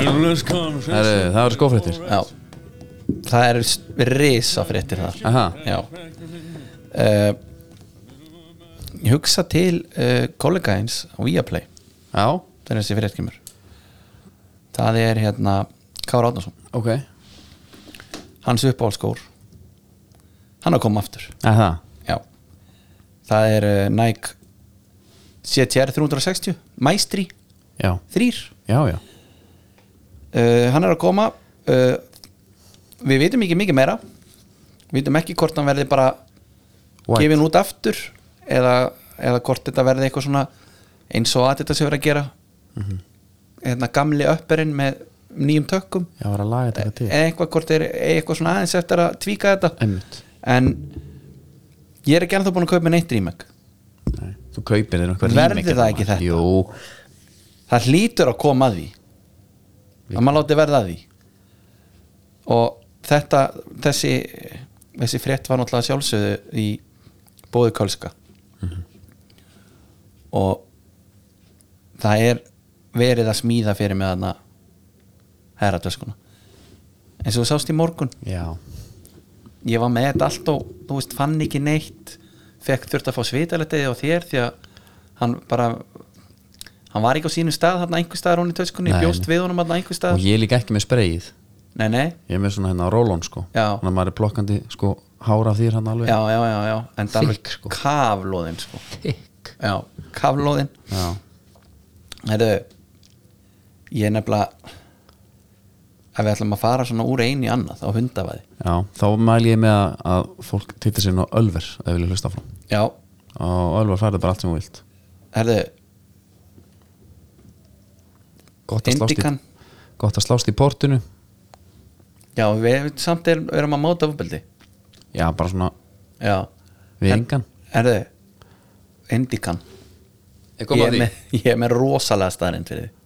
S1: herru, það eru skófréttir
S2: Já. það er risa fréttir þar
S1: Aha.
S2: Já. Uh, ég hugsa til uh, kollega eins á Viaplay
S1: já,
S2: það er þessi frétt kemur það er hérna Kára Átnason
S1: ok er
S2: hans uppáhalskór hann er að koma aftur
S1: það,
S2: já það er uh, Nike CTR 360 Maestri
S1: já,
S2: 3
S1: já, já
S2: uh, hann er að koma uh, við vitum ekki mikið meira við vitum ekki hvort hann verði bara
S1: White.
S2: gefin út aftur eða, eða hvort þetta verði eitthvað svona eins og að þetta sé verið að gera
S1: Mhm.
S2: hérna gamli öpperinn með nýjum tökkum
S1: já, var að laga þetta til
S2: eða eitthvað hvort er eigi eitthvað svona aðeins eftir að tvíka þetta
S1: einmitt,
S2: en ég er ekki ennþá búin að kaupa mér neitt rýmæk
S1: Nei. þú kaupir þér eitthvað
S2: Verður
S1: remake
S2: það
S1: hérna.
S2: ekki þetta?
S1: jú,
S2: það hlýtur að koma að því að maður láti verða að því og þetta þessi, þessi frétt var náttúrulega sjálfsögðu í bóðu kölska og það er verið að smíða fyrir með þarna herratöskuna eins og þú sást í morgun
S1: já,
S2: ég var með þetta allt og þú veist, fann ekki neitt fekk þurft að fá svitaletið á þér því að hann bara hann var ekki á sínum stað þarna einhver staðar hún í töskunni,
S1: Nei,
S2: ég bjóst
S1: nei.
S2: við honum þarna einhver
S1: og
S2: staðar
S1: ég er líka ekki með spreyið
S2: nei, nei,
S1: ég er með svona hérna rólón sko
S2: Já.
S1: þannig að maður er plokkandi sko hára af þýr hann alveg
S2: já, já, já, já en það
S1: Þykk,
S2: alveg
S1: sko.
S2: kaflóðin sko. já, kaflóðin
S1: já,
S2: Heyrðu, ég er nefnilega ef við ætlum að fara svona úr einu í annað á hundavaði
S1: já. þá mæl ég með að, að fólk tittir sér nú Ölver ef vilja hlusta frá
S2: já,
S1: og Ölver færði bara allt sem þú vilt
S2: herðu,
S1: gott að
S2: Indikan.
S1: slást í, gott að slást í portinu
S2: já, við við samt erum, erum að móta ofbeldi
S1: já, bara svona
S2: já,
S1: við engan
S2: herðu Indikan
S1: ég
S2: ég er, með, ég er með rosalega staðrind fyrir því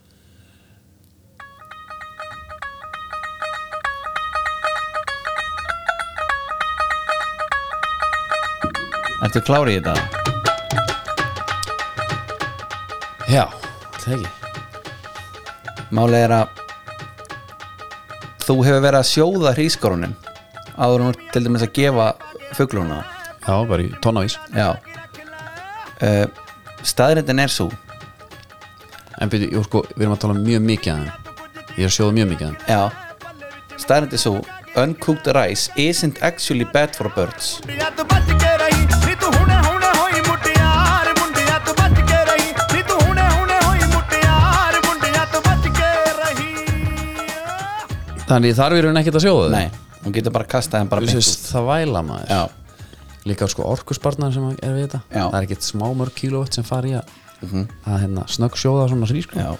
S2: Ertu klári í þetta?
S1: já, það ekki
S2: Máli er að þú hefur verið að sjóða hrískorunin áður hún til dæmis að gefa fugluna
S1: já, bara í tónavís
S2: Já uh, Staðrindin er svo
S1: en byrju, jú, sko, við erum að tala mjög mikið að þeim ég er að sjóða mjög mikið að þeim
S2: Já Staðrindin er svo Uncooked rice isn't actually bad for birds
S3: ਮੁੰਡਿਆ ਤੋਂ ਬਚ ਕੇ ਰਹੀ ਨੀ ਤੂੰ ਹੁਣੇ ਹੁਣੇ ਹੋਈ ਮੁਟਿਆਰ ਮੁੰਡਿਆ ਤੋਂ ਬਚ ਕੇ ਰਹੀ ਨੀ ਤੂੰ ਹੁਣੇ ਹੁਣੇ ਹੋਈ ਮੁਟਿਆਰ ਮੁੰਡਿਆ ਤੋਂ ਬਚ ਕੇ ਰਹੀ
S1: þannig þarf við erum ekkert að sjóða
S2: Nei, hún getur bara kastað hann bara
S1: Þú
S2: beint
S1: veist, það væla maður
S2: út. Já,
S1: líka sko orkusbarnar sem er við þetta
S2: Já. Mhm.
S1: það er ekkert smá mörg kílóvett sem fari að, að hérna, snögg sjóða svona rísku
S2: já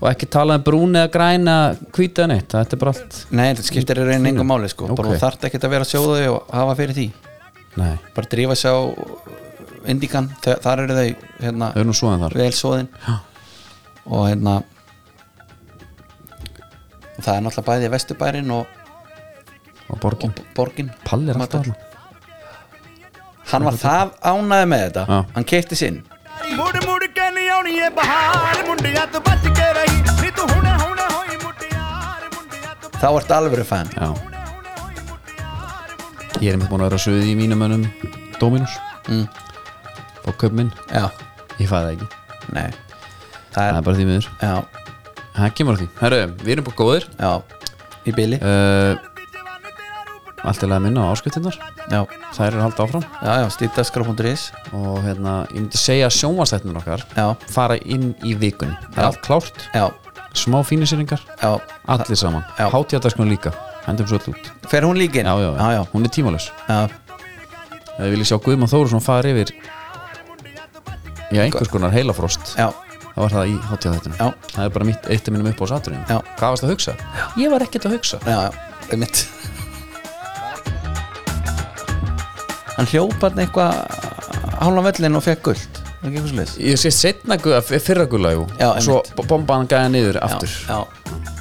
S1: og ekki tala um brún eða græn eða hvít eða neitt, þetta er bara allt
S2: Nei, þetta skiptir í rauninni engum máli sko
S1: Hmm. Ok.
S2: Bara þú þarft ekkert að vera að sjóða þau og hafa fyrir því
S1: nei,
S2: Bara drífa sig á Indikan, þa- þar eru þau hérna,
S1: þau eru nú svoðan þar
S2: vel sóðin Og hérna og það er náttúrulega bæði vesturbærin og,
S1: og borgin
S2: og borgin
S1: Palli er alltaf
S2: Matur.
S1: alltaf
S2: hann var það ánæði með þetta
S1: Já.
S2: hann keipti sinn
S3: ਮੁੜ ਮੁੜ ਕੇ ਨਹੀਂ ਆਉਣੀ ਏ ਬਹਾਰ ਮੁੰਡਿਆਂ ਤੋਂ ਬਚ ਕੇ ਰਹੀ ਨੀ ਤੂੰ ਹੁਣੇ ਹੁਣੇ ਹੋਈ ਮੁਟਿਆਰ ਮੁੰਡਿਆਂ ਤੋਂ
S2: þá ertu alvöru fan
S1: Já,
S3: ਹੁਣੇ ਹੁਣੇ ਹੋਈ ਮੁਟਿਆਰ ਮੁੰਡਿਆਂ
S1: ég er einmitt búin að vera að suði í mínum önum Dominus
S2: Mm.
S1: og kaupminn,
S2: já,
S1: ég fæði það ekki
S2: nei það
S1: það
S2: er,
S1: er bara því miður,
S2: já,
S1: það kemur að því Herru, við erum bara góðir
S2: já, Eh, í bíli
S1: uh,
S3: ਦੀ ਜਵਾਨ ਤੇਰਾ ਰੂਪ
S1: allt er að minna á áskiptinnar
S2: já,
S1: þær eru að halda áfram
S2: já, já, stýtaskra.is
S1: og hérna, ég myndi segja að sjónvastættinur okkar
S2: já,
S1: fara inn í vikunni það er
S2: Já.
S1: allt klárt,
S2: já,
S1: smá fínisýringar
S2: já
S1: allir saman,
S2: Já.
S1: hátíðardagskunum líka hendum svo öll út,
S2: fer hún líkin?
S1: já, já,
S2: já, já,
S1: hún er tímalus
S2: já.
S1: ef við viljum sjá Guðmann Þórusson fara yfir já, einhvers konar heilafrost
S2: já.
S1: það var það í hátíðarþættinum
S2: Já.
S1: það er bara mitt, eitt af mínum upp á saturinn
S2: Já.
S1: hvað varst að hugsa? Já. ég var ekkert að hugsa
S2: já, já, einmitt hann hljópa eitthvað hálfan vellin og fekk guld er ekki eitthvað svo
S1: ég sé setna, fyrra gula jú
S2: Já, einmitt.
S1: svo bombaðan gæða niður
S2: já,
S1: aftur
S2: já,